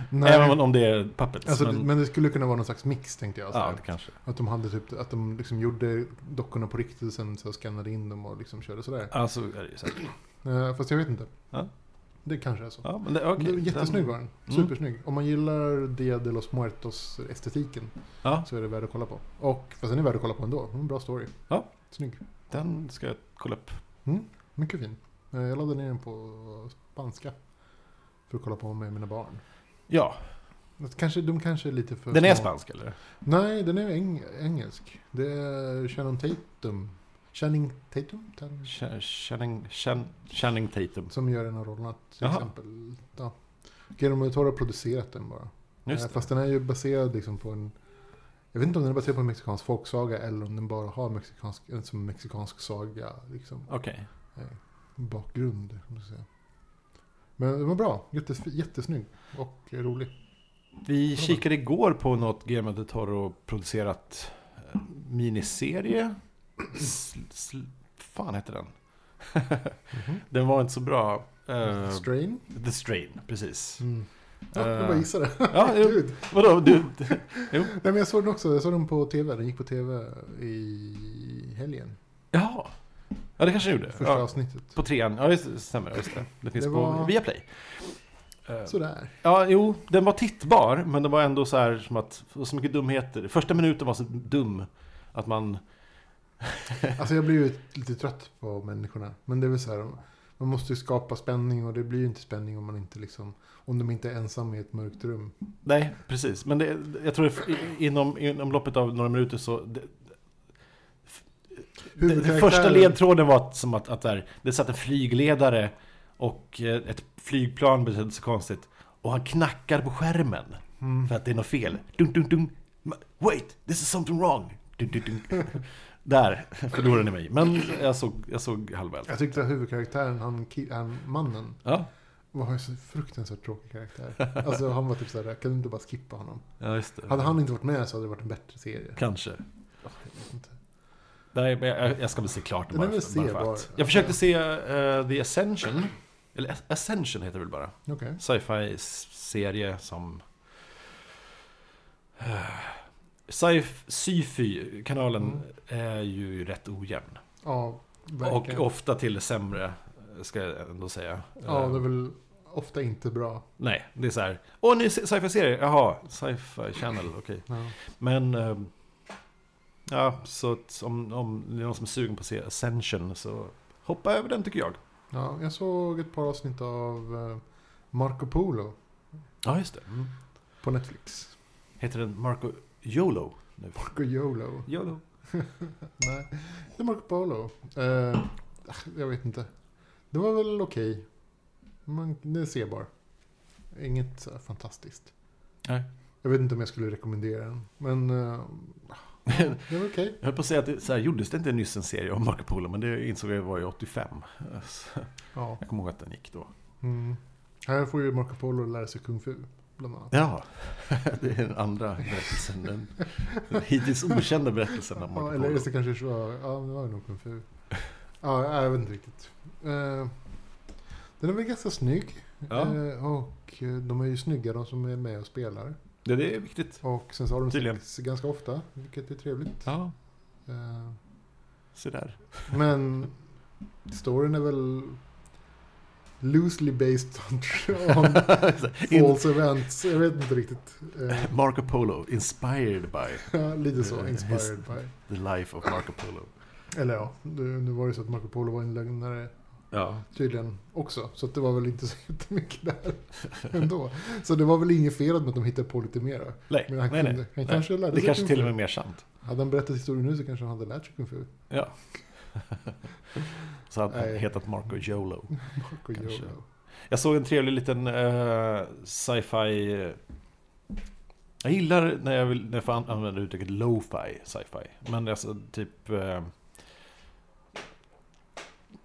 B: Nej,
A: Även om det är puppets.
B: alltså,
A: men,
B: men... det skulle kunna vara någon slags mix tänkte jag. så
A: ja,
B: här.
A: kanske.
B: Att de hade typ, att de liksom gjorde dockorna på riktigt och sen så skannade in dem och liksom körde sådär.
A: Ja, så Alltså, är det ju säkert.
B: Eh, Fast jag vet inte.
A: Ja.
B: Det kanske är så.
A: Ja, men det,
B: Det
A: okay.
B: är jättesnygg var den.
A: Mm.
B: Supersnygg. Om man gillar Dia de los Muertos-estetiken
A: Ja,
B: så är det värd att kolla på. Och, fast den är värd att kolla på ändå. En bra story.
A: Ja.
B: Snygg.
A: den ska jag kolla upp.
B: Mycket fin. Eh, Jag laddade ner den på spanska. För att kolla på med mina barn.
A: Ja,
B: Det Kanske, de kanske är lite för
A: den är
B: små.
A: spansk eller?
B: Nej, den är eng engelsk. Det är Shannon Tatum. Channing Tatum? Tan-
A: Ch- Channing, Chan- Channing Tatum.
B: Som gör en av rollerna till
A: Jaha.
B: exempel. Ja. Guillermo del Toro har producerat den bara.
A: Just
B: Eh,
A: det.
B: Fast den är ju baserad liksom på en... Jag vet inte om den är baserad på en mexikansk folksaga eller om den bara har mexikansk, en som mexikansk saga liksom,
A: Okej.
B: bakgrund. om man ska säga. Men den var bra, Jättes, jättesnygg och rolig.
A: Vi kikade igår på något Guillermo del Toro producerat eh, miniserie. Sl, sl, fan heter den?
B: Mhm.
A: Den var inte så bra. Eh,
B: Strain?
A: The Strain, precis.
B: Mm. Ja, jag bara
A: Eh,
B: gissade.
A: Ja, jo,
B: Gud.
A: vadå? Du, jo.
B: Nej, men jag såg den också, jag såg den på tv. Den gick på tv i helgen.
A: Jaha. Ja, det kanske den gjorde.
B: Första
A: Ja,
B: avsnittet.
A: på trean. Ja, just det. Stämmer. Just det. det finns
B: Det
A: på
B: var-
A: Viaplay. Eh,
B: Sådär.
A: Ja, jo, den var tittbar, men den var ändå så här som att, det var så mycket dumheter. Första minuten var så dum att man,
B: Alltså jag blir ju lite trött på människorna. Men det är väl så här, man måste ju skapa spänning och det blir ju inte spänning om man inte liksom, om de inte är ensamma i ett mörkt rum.
A: nej, precis. Men det, jag tror att i- inom, inom loppet av några minuter så, det, det, det
B: Huvudkaraktären-
A: första ledtråden var att, som att, att där, det satt en flygledare och eh, ett flygplan betedde sig konstigt. Och han knackar på skärmen
B: Mm.
A: för att det är något fel. Dun, dun, dun. Ma- Wait, this is something wrong. Dun, dun, dun. Där förlorade ni mig, men jag såg, jag såg halva elden.
B: Jag tyckte att huvudkaraktären, han, ki- han mannen,
A: Ja,
B: var ju så fruktansvärt tråkig karaktär. Alltså han var typ såhär, kan du inte bara skippa honom?
A: ja, just det.
B: Hade han inte varit med så hade det varit en bättre serie.
A: Kanske.
B: Jag vet inte.
A: Nej, men jag, jag ska väl se klart
B: Den
A: bara,
B: är väl
A: för- bara för
B: sebar.
A: att. Jag försökte se eh, The Ascension. Eller As- Ascension heter det väl bara.
B: Okej.
A: Sci-fi-serie som... Eh, sci- Sci-fi, kanalen
B: Mm.
A: är ju rätt ojämn.
B: Ja,
A: Och
B: verkligen.
A: ofta till sämre, ska jag ändå säga.
B: ja,
A: Eh,
B: det är väl ofta inte bra.
A: Nej, det är så här. Åh, ny sci- sci-fi-serie! Jaha, sci-fi channel, okej.
B: Ja.
A: Men... eh, Ja, så att om, om det är någon som är sugen på att se Ascension så hoppa över den tycker jag.
B: Ja, jag såg ett par avsnitt av eh, Marco Polo
A: Ja, just det.
B: på Netflix.
A: Mm. Heter den Marco YOLO? Nu?
B: Marco Yolo.
A: YOLO.
B: Nej, det är Marco Polo. Eh, jag vet inte. Det var väl okej. Man, det är sebar. Inget så här fantastiskt.
A: Nej.
B: Jag vet inte om jag skulle rekommendera den. Men eh, det var okej.
A: Jag höll på att säga att det, så här, gjordes det inte nyss en serie om Marco Polo, men det insåg jag var ju 85. Så
B: Ja.
A: jag kommer ihåg att den gick då.
B: Mm. Här får ju Marco Polo lära sig kung fu. Bland annat.
A: Ja, det är den andra berättelsen. Den, den hittills okända berättelsen om
B: Ja,
A: Marco
B: eller
A: Polo.
B: är det kanske så. Ja, det var ju nog kung fu. Ja, jag vet inte riktigt. Eh, den är väl ganska snygg.
A: Ja,
B: Eh, och eh, de är ju snygga de som är med och spelar.
A: det, det är viktigt.
B: Och sen så har de
A: Tydligen.
B: sex ganska ofta, vilket är trevligt.
A: Ja,
B: Eh,
A: se där.
B: Men storyn är väl loosely based on, on
A: In,
B: false events. Jag vet inte riktigt. Eh,
A: Marco Polo, inspired by
B: ja, Lite
A: Eh,
B: så, inspired by.
A: the life of Marco Polo.
B: Eller ja, nu nu var det så att Marco Polo var en lögnare
A: Ja,
B: tydligen också. Så att det var väl inte så jättemycket där ändå. Så det var väl inget fel med att de hittade på lite mera.
A: nej,
B: Men han,
A: nej,
B: kunde,
A: nej.
B: han kanske lärde
A: Det
B: sig
A: kanske
B: kung
A: till och
B: fu.
A: med är mer sant.
B: Hade han berättat historien nu så kanske han hade lärt sig kung fu.
A: Ja. Så hade han
B: Nej.
A: hetat Marco Jolo.
B: Marco
A: Kanske.
B: Yolo.
A: Jag såg en trevlig liten eh, sci-fi... eh, Jag gillar när jag, vill, när jag får an- använda uttrycket lo-fi sci-fi. Men alltså typ... eh,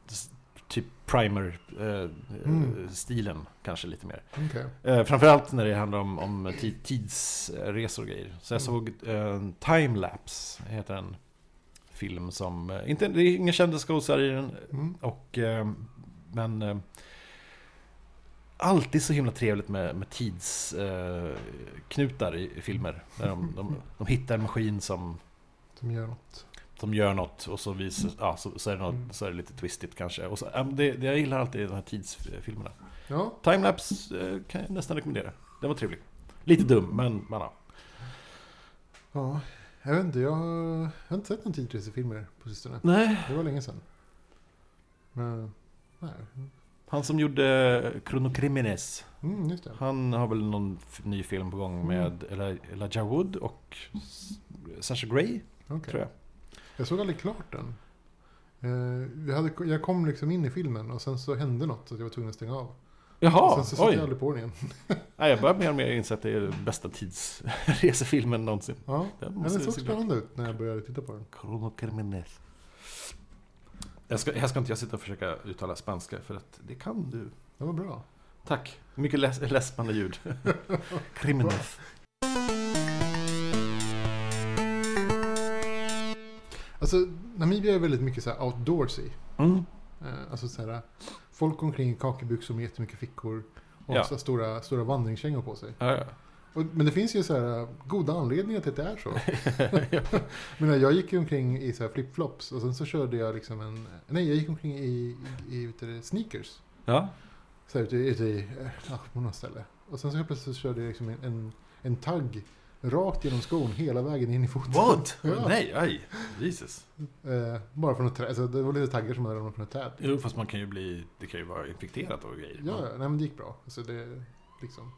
A: s- Typ
B: Mm.
A: primer-stilen kanske lite mer.
B: Okej.
A: Eh, framförallt när det handlar om, om ti- tidsresor och grejer. Så jag
B: Mm.
A: såg en timelapse, heter en film som... eh, Inte, det är Mm. eh, inga kända skådisar i den,
B: Mm.
A: och, eh, men eh, alltid så himla trevligt med, med tidsknutar eh, knutar i, i filmer. Där de, de, de hittar en maskin som,
B: Som gör något.
A: som gör något och så, visar, ja, så, så, är det
B: Mm.
A: något, så är det lite twistigt kanske. Och så, ja, men det, det, jag gillar alltid de här tidsfilmerna.
B: Ja,
A: Timelapse eh, kan jag nästan rekommendera. Den var trevlig. Lite dum, men men ja.
B: ja. Jag vet inte, jag har, jag har inte sett någon tidsresefilmer på sistone.
A: Nej,
B: Det var länge sedan. Men, nej.
A: han som gjorde Chrono Crimines,
B: Mm, just det.
A: han har väl någon f- ny film på gång med Eli- Elijah Wood och S- Sasha Grey,
B: Okej.
A: tror jag.
B: Jag såg aldrig klart den. Eh, Jag, hade, jag kom liksom in i filmen och sen så hände något så att jag var tvungen att stänga av.
A: Jaha,
B: sen så satte
A: oj!
B: jag aldrig på den igen.
A: Nej, jag börjar mer och mer inse att det är den bästa tidsresefilmen någonsin.
B: Ja,
A: Den
B: men det
A: måste vi
B: såg
A: se på.
B: spännande ut när jag började titta på den.
A: Chrono Criminales. Jag ska, här ska inte jag sitta och försöka uttala spanska för att det kan du.
B: Den var bra.
A: Tack. Mycket läs läspande ljud. Criminals.
B: Alltså, Namibia är väldigt mycket så här outdoorsy.
A: Mm.
B: Eh, Alltså så här, folk omkring i kakebyxor med jättemycket fickor. Och
A: Ja.
B: så här stora, stora vandringskängor på sig.
A: Ja, ja.
B: Och, men det finns ju så här äh, goda anledningar till att det är så. men äh, jag gick ju omkring i så här flipflops och sen så körde jag liksom en... Nej, jag gick omkring i, i, i vet du, det, sneakers.
A: ja.
B: Så här ute, i- ute i, eh, ja, på något ställe. Och sen så helt plötsligt så körde jag liksom en, en, en tagg rakt genom skon hela vägen in i foten.
A: What?
B: Ja.
A: Nej, aj. Jesus.
B: Eh, bara från ett träd. Så det var lite taggar som hade ramlat från ett träd.
A: Jo, fast man kan ju bli... Det kan ju vara infekterat och grejer.
B: Ja, ja. nej men det gick bra. Alltså det, liksom,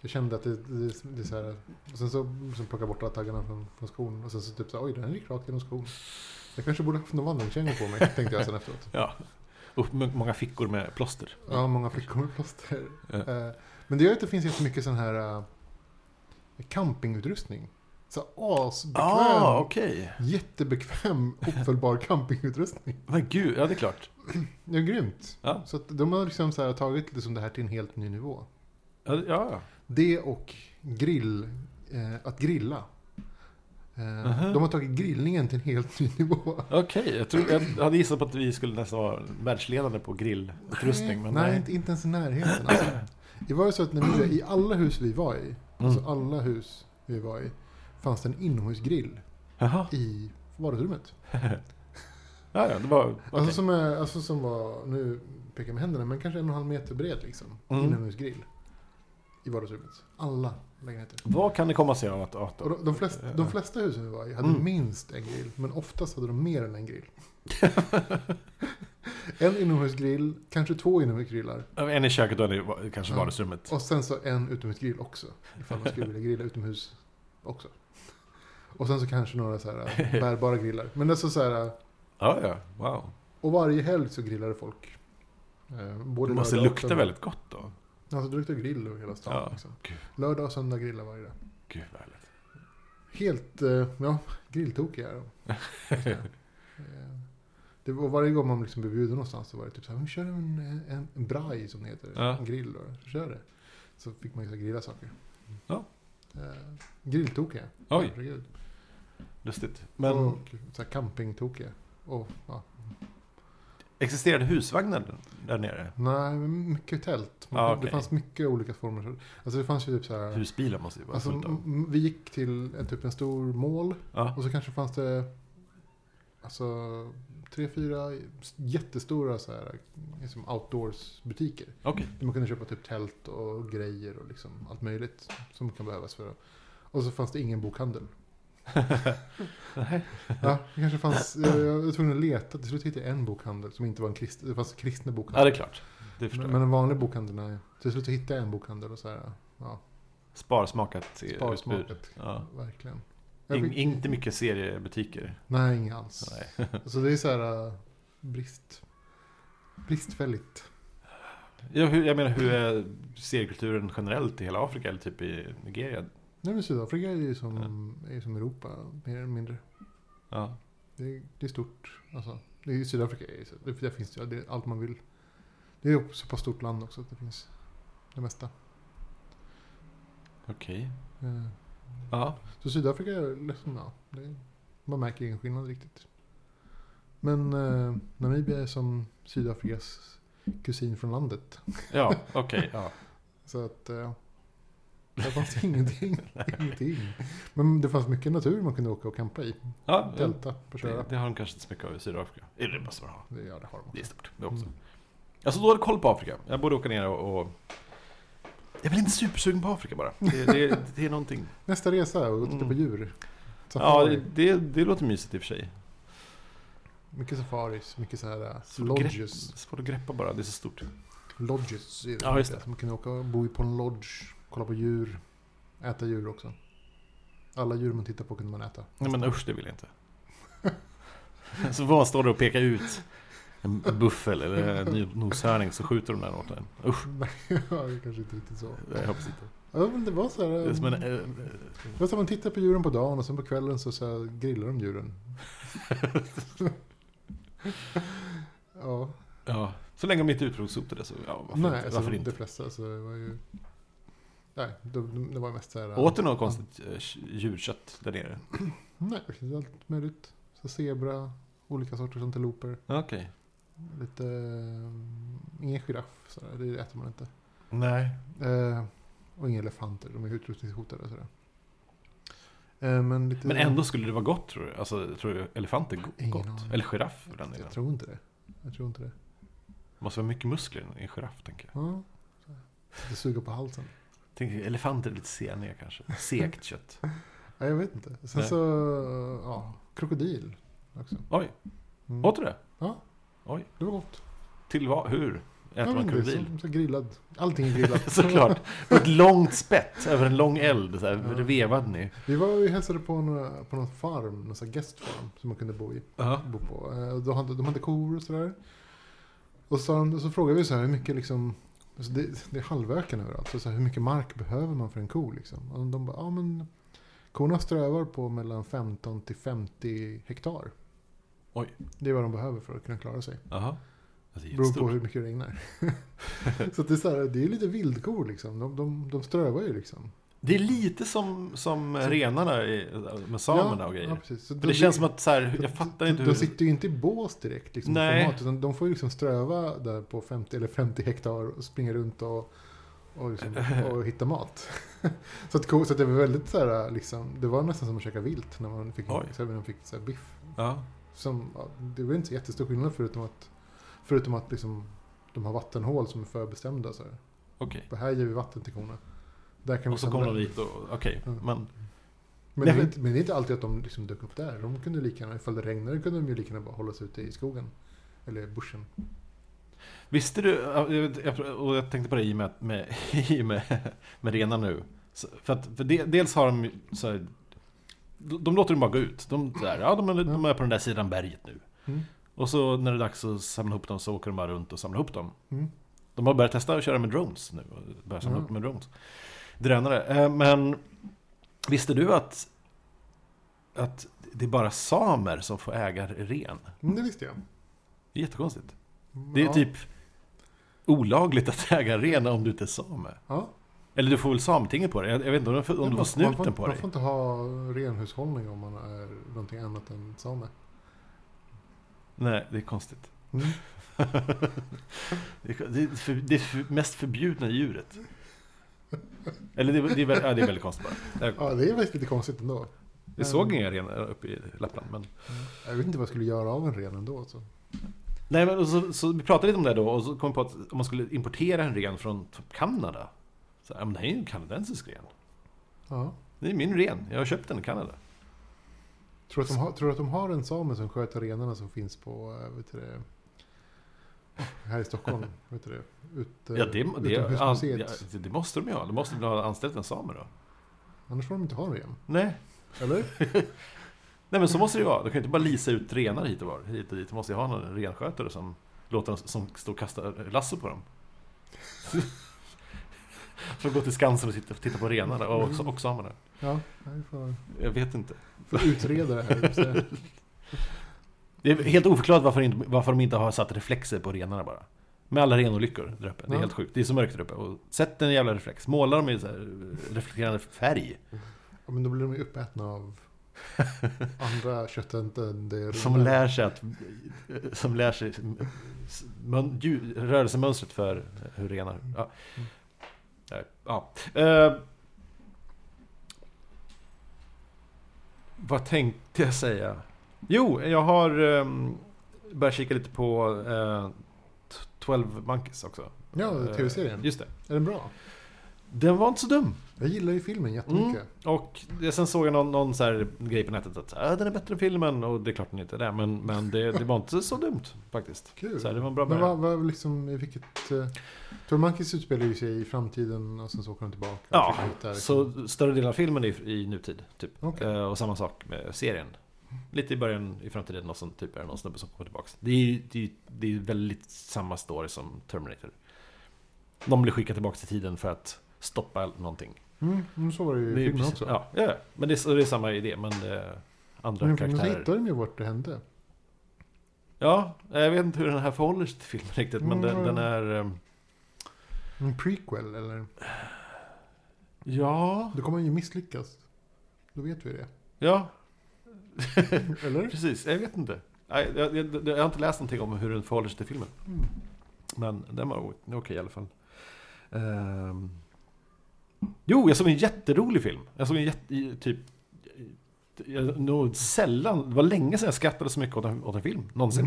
B: jag kände att det, det, det är så här, och sen så sen plockade jag bort alla taggarna från, från skon och sen så typ så här, oj den gick rakt genom skon. Jag kanske borde haft någon vandringskänga på mig, tänkte jag sen efteråt.
A: ja. Och m- många fickor med plåster.
B: Ja, många flickor med plåster.
A: Ja.
B: Eh, Men det gör att det finns jättemycket sån här eh, campingutrustning. Så asbekväm,
A: Ah, okej.
B: jättebekväm, uppfällbar campingutrustning.
A: Men gud, ja det är klart.
B: Det är grymt.
A: Ja.
B: Så att de har liksom så här, tagit liksom det här till en helt ny nivå.
A: Ja, det- ja.
B: Det och grill, eh, att grilla. Eh,
A: Aha.
B: De har tagit grillningen till en helt ny nivå.
A: Okej, jag, tror- jag hade gissat på att vi skulle nästan vara världsledande på grillutrustning. Men
B: nej,
A: nej.
B: Inte, inte ens i närheten. Alltså, det var ju så att när vi, i alla hus vi var i, alltså
A: Mm.
B: alla hus vi var i, fanns det en inomhusgrill
A: Jaha,
B: i vardagsrummet.
A: ja, ja, det var... okej.
B: Alltså, som, är, alltså som var, nu pekar jag med händerna, men kanske en och en halv meter bred liksom.
A: Mm.
B: Inomhusgrill. I vardagsrummet. Alla lägenheter.
A: Vad kan det komma sig av att... att
B: Och de, de, flesta, de flesta husen vi var i hade
A: Mm.
B: minst en grill, men oftast hade de mer än en grill. en inomhusgrill, kanske två inomhusgrillar.
A: en i köket och en i va- kanske
B: Ja.
A: vardagsrummet.
B: Och sen så en utomhusgrill också. Ifall man skulle vilja grilla utomhus också. Och sen så kanske några så här äh, bärbara grillar. Men alltså så här,
A: Ja, ja, wow.
B: och varje helg så grillade folk. Eh, Både
A: Det måste
B: lördag och
A: lukta
B: söndag.
A: väldigt gott då.
B: Alltså det luktar grill över hela stan.
A: Ja.
B: Liksom.
A: Gud.
B: Lördag och söndag grillar varje dag.
A: Gud, vad härligt.
B: Helt, eh, ja, grilltokiga är de. Eh, Det var varje gång man liksom blev bjuden någonstans så var det typ så här, "Men kör en, en, en braj som det heter,
A: Ja.
B: en grill då. Så kör det. Så fick man ju så här grilla saker.
A: Ja.
B: Eh, grilltokiga.
A: Oj,
B: Herregud.
A: lustigt. Men
B: Och så här campingtokiga. Och, ja.
A: existerade husvagnar där nere?
B: Nej, men mycket tält. Man,
A: Ja,
B: Det
A: Ah, okej.
B: fanns mycket olika former. Alltså det fanns ju typ så här.
A: Husbilar måste ju vara
B: Alltså,
A: fullt av.
B: m- vi gick till en, typ en stor mål
A: Ja.
B: och så kanske fanns det alltså, tre, fyra jättestora så här, liksom outdoors-butiker.
A: Okej.
B: Där Man kunde köpa typ tält och grejer och liksom allt möjligt som kan behövas för att... Och så fanns det ingen bokhandel.
A: Nej.
B: Ja, det kanske fanns... Jag, jag var tvungen att leta. Till slut hittade jag en bokhandel som inte var en kristen... Det fanns
A: Ja,
B: kristna
A: det är
B: bokhandel.
A: klart. Det förstår
B: men,
A: jag.
B: men en vanlig bokhandel, nej. Till slut hittade jag en bokhandel och så här... Ja,
A: Sparsmakat eh, utbud.
B: sparsmakat.
A: Ja.
B: Verkligen. Jag
A: In,
B: fick-
A: inte mycket seriebutiker.
B: Nej, inget alls.
A: Nej.
B: Så det är så här... äh, Brist... Bristfälligt.
A: Ja, hur, jag menar, hur är seriekulturen generellt i hela Afrika eller typ i Nigeria?
B: Nej, men Sydafrika är ju som, är ju som Europa, mer eller mindre.
A: Ja.
B: Det är, det är stort. Alltså, det är, i Sydafrika är ju så- det, där finns det, ju- det är allt man vill. Det är ju så pass stort land också att det finns det mesta.
A: Okej.
B: Eh,
A: Ja.
B: Så Sydafrika är liksom, ja, det, man märker ingen skillnad riktigt. Men eh, Namibia är som Sydafrikas kusin från landet.
A: Ja, okej. ja.
B: Så att... Eh, det fanns ingenting. ingenting. Men det fanns mycket natur man kunde åka och campa i.
A: ja det,
B: Delta på Köra.
A: det, det har de kanske inte så mycket av i Sydafrika. Eller det måste man ha.
B: Det, ja, det har de
A: Det är
B: också.
A: stort det också.
B: Mm.
A: Jag har så dålig koll på Afrika. Jag borde åka ner och... och... Jag är väl inte supersugen på Afrika bara. Det, det, det är någonting.
B: Nästa resa, och titta på
A: Mm.
B: djur.
A: Ja,
B: Safari.
A: det, det, det låter mysigt i och för sig.
B: Mycket safaris, mycket så här eh,
A: Svårt att
B: lodges.
A: Svårt att greppa bara, det är så stort.
B: Lodges är det
A: Ja, just
B: mycket.
A: det.
B: Man kunde åka och bo på en lodge, kolla på djur, äta djur också. Alla djur man tittar på kunde man äta.
A: Nej men usch, det vill jag inte. Så vad står det och pekar ut en buffel eller en ny- noshörning så skjuter de den åt en. Usch,
B: Nej, ja, det är kanske inte riktigt så.
A: jag hoppas inte.
B: Ja, men det var så här...
A: Det är som en, eh, eh,
B: Det var så här, man tittar på djuren på dagen och sen på kvällen så, så här, grillar de djuren. ja,
A: ja, så länge de inte är utrotningshotade så ja, varför
B: nej,
A: inte?
B: alltså,
A: Varför
B: de
A: inte?
B: flesta så det var ju... Nej, det, det var mest så här...
A: Åt du något konstigt eh, djurkött där nere?
B: Nej, det är allt möjligt. Så zebra, olika sorters antiloper,
A: Okej.
B: lite... eh, Ingen giraff, så där, det äter man inte.
A: Nej.
B: Eh, och inga elefanter, de är utrotningshotade. Så där. Eh, men, lite,
A: Men ändå skulle det vara gott tror du? Alltså, tror du elefant är go-
B: Ingen
A: gott?
B: aning.
A: Eller giraff för den delen?
B: Jag tror inte det. Jag tror inte det.
A: Måste vara mycket muskler i en giraff tänker jag.
B: Ja. Sitter och suger på halsen.
A: Tänk, elefanter är lite seniga kanske. Segt kött.
B: Nej, jag vet inte. Sen
A: Nej.
B: så, ja, krokodil också.
A: Oj,
B: Mm.
A: åt du det?
B: Det var gott.
A: Till vad? Hur? Äter
B: Ja,
A: man
B: men det är
A: krokodil?
B: Som, som grillad. Allting är grillat.
A: Såklart. På ett långt spett över en lång eld. Så här,
B: Ja.
A: Det vevade ni.
B: Vi var och hälsade på en, på någon farm, någon sån här guest farm som man kunde bo i. bo på. Eh, De hade, de hade kor och sådär. Och så, sa de- så frågade vi så här hur mycket liksom, alltså det, det är halvöken överallt, så, så här, hur mycket mark behöver man för en ko liksom? Och de bara, ja men korna strövar på mellan 15 till 50 hektar.
A: Oj.
B: Det är vad de behöver för att kunna klara sig.
A: Jaha. Alltså, det är
B: Beroende på
A: jättestort.
B: hur mycket det regnar. så att det är så här, det är lite vildkor liksom. De, de, de strövar ju liksom.
A: Det är lite som, som renarna i, med samerna och
B: Ja,
A: grejer.
B: precis. Så
A: För det känns som att så här, jag fattar inte
B: de, de
A: hur...
B: sitter ju inte i bås direkt liksom,
A: Nej.
B: Nej. Format, utan de får ju liksom ströva där på 50 eller 50 hektar och springa runt och, och, liksom, och hitta mat. så, att, ko- så att det var väldigt så här, liksom, det var nästan som att käka vilt när man fick,
A: Oj.
B: så här, när man fick så här, biff.
A: Ja.
B: Som, ja, det var inte så jättestor skillnad förutom att, förutom att liksom, de har vattenhål som är förbestämda. Så här.
A: Okej.
B: Och här ger vi vatten till korna. Där kan vi
A: Och så
B: samla-
A: kommer de dit och... Okej.
B: Mm.
A: Men,
B: Men,
A: Nej,
B: det är
A: men-
B: inte, men det är inte alltid att de liksom dök upp där. De kunde lika gärna, ifall det regnade kunde de ju lika gärna bara hålla sig ute i skogen. Eller buschen.
A: Visste du, jag- jag- och jag tänkte på det i och med, att- med, i och med, med renar nu. Så- För att, för de, dels har de ju så här, de, de låter dem bara gå ut. De, så här, ja, de, är, de är på den där sidan berget nu.
B: Mm.
A: Och så när det är dags att samla ihop dem så åker de bara runt och samlar ihop dem.
B: Mm.
A: De har börjat testa att köra med drones nu. och Börjat samla
B: Ja.
A: upp med drones. Drönare. Eh, Men visste du att, att det är bara samer som får äga ren?
B: Mm, det visste jag.
A: Det är jättekonstigt.
B: Mm,
A: Det är
B: ja.
A: typ olagligt att äga ren om du inte är same.
B: Ja.
A: Eller du får väl Sametinget på dig? Jag, jag vet inte om, du får- om du
B: Man-
A: får
B: man
A: snuten
B: får-
A: på
B: Man
A: dig?
B: får inte ha renhushållning om man är någonting annat än same.
A: Nej, det är konstigt.
B: Mm.
A: det, är, det, är för, det är för, mest förbjudna djuret. Eller det, är- det, är, väl- ja, det är väldigt konstigt bara. Jag,
B: Ja, det är faktiskt lite konstigt ändå.
A: jag såg inga renar uppe i Lappland. Men...
B: Jag vet inte vad jag skulle göra av en ren ändå. alltså. Så.
A: Nej, men och så, så vi pratade lite om det då och så kom vi på att om man skulle importera en ren från typ Kanada. Så, här, ja, men det här är ju en kanadensisk ren.
B: Ja.
A: Det är min ren. Jag har köpt den i Kanada.
B: Tror du att, de har- tror du att de har en same som sköter renarna som finns på, eh, vet du det, här i Stockholm? vet du det, ut, eh,
A: Ja, det, det, an,
B: utomhusmuseet?
A: ja, det- det måste de ju ha. De måste väl ha anställt en same då?
B: Annars får de inte ha en ren.
A: Nej.
B: Eller?
A: Nej men så måste det ju vara. De kan ju inte bara lisa ut renar hit och var. Hit och dit. De måste ju ha någon renskötare som låter dem, som står och kastar lasso på dem. Som går till Skansen och tittar, tittar på renarna och, och, och samerna.
B: Ja, nej, vi får,
A: Jag vet inte.
B: får utreda det här. höll jag på att säga.
A: Det är helt oförklarat varför, inte, varför de inte har satt reflexer på renarna bara. Med alla renolyckor där uppe. Det är
B: Ja.
A: helt sjukt. Det är så mörkt där uppe. Och sätt en jävla reflex. Målar de i så här reflekterande eh, färg.
B: Ja, men då blir de ju uppätna av Andra köttätande
A: Som lär sig att... Som lär sig mun, ljud, rörelsemönstret för hur renar... Ja.
B: Mm.
A: Nej, ja. Eh, vad tänkte jag säga? Jo, jag har um, börjat kika lite på eh, 12 Monkeys också.
B: Ja,
A: Eh,
B: tv-serien.
A: Just det.
B: Är den bra?
A: Den var inte så dum.
B: Jag gillar ju filmen jättemycket.
A: Och det- sen såg jag någon, någon så här grej på nätet att äh, den är bättre än filmen och det är klart den inte är det. Men, men det, det var inte så dumt faktiskt.
B: Kul.
A: Så här, det var en bra
B: Men
A: början.
B: vad, vad liksom, i vilket... Uh, Tormankis utspelar ju sig i framtiden och sen så åker de tillbaka. och
A: Ja,
B: försöker hitta, liksom.
A: Så större delen av filmen är i, i nutid. Typ.
B: Okej.
A: Eh, och samma sak med serien. Lite i början i framtiden och sen typ är det någon snubbe som kommer tillbaka. Det är ju det är, ju- det är ju väldigt samma story som Terminator. De blir skickade tillbaka till tiden för att stoppa någonting.
B: Mm, men så var det ju
A: Det
B: i
A: är ju
B: filmen
A: precis-
B: också.
A: Ja, ja, ja. men det är, och det är samma idé men eh, andra
B: Men i filmen så
A: karaktärer.
B: hittar de ju vart det hände.
A: Ja, jag vet inte hur den här förhåller sig till filmen riktigt, men
B: Mm.
A: den, den är... ehm,
B: En prequel eller?
A: Ja,
B: Då kommer han ju misslyckas. Då vet vi det.
A: ja,
B: Eller?
A: precis. Jag vet inte. Nej, Jag, jag, jag, har inte läst någonting om hur den förhåller sig till filmen.
B: Mm.
A: Men den var o- okej i alla fall. Ehm. Jo, jag såg en jätterolig film. Jag såg en jätte, i- typ... Jag, nog sällan, det var länge sedan jag skrattade så mycket åt en, åt en film. Någonsin.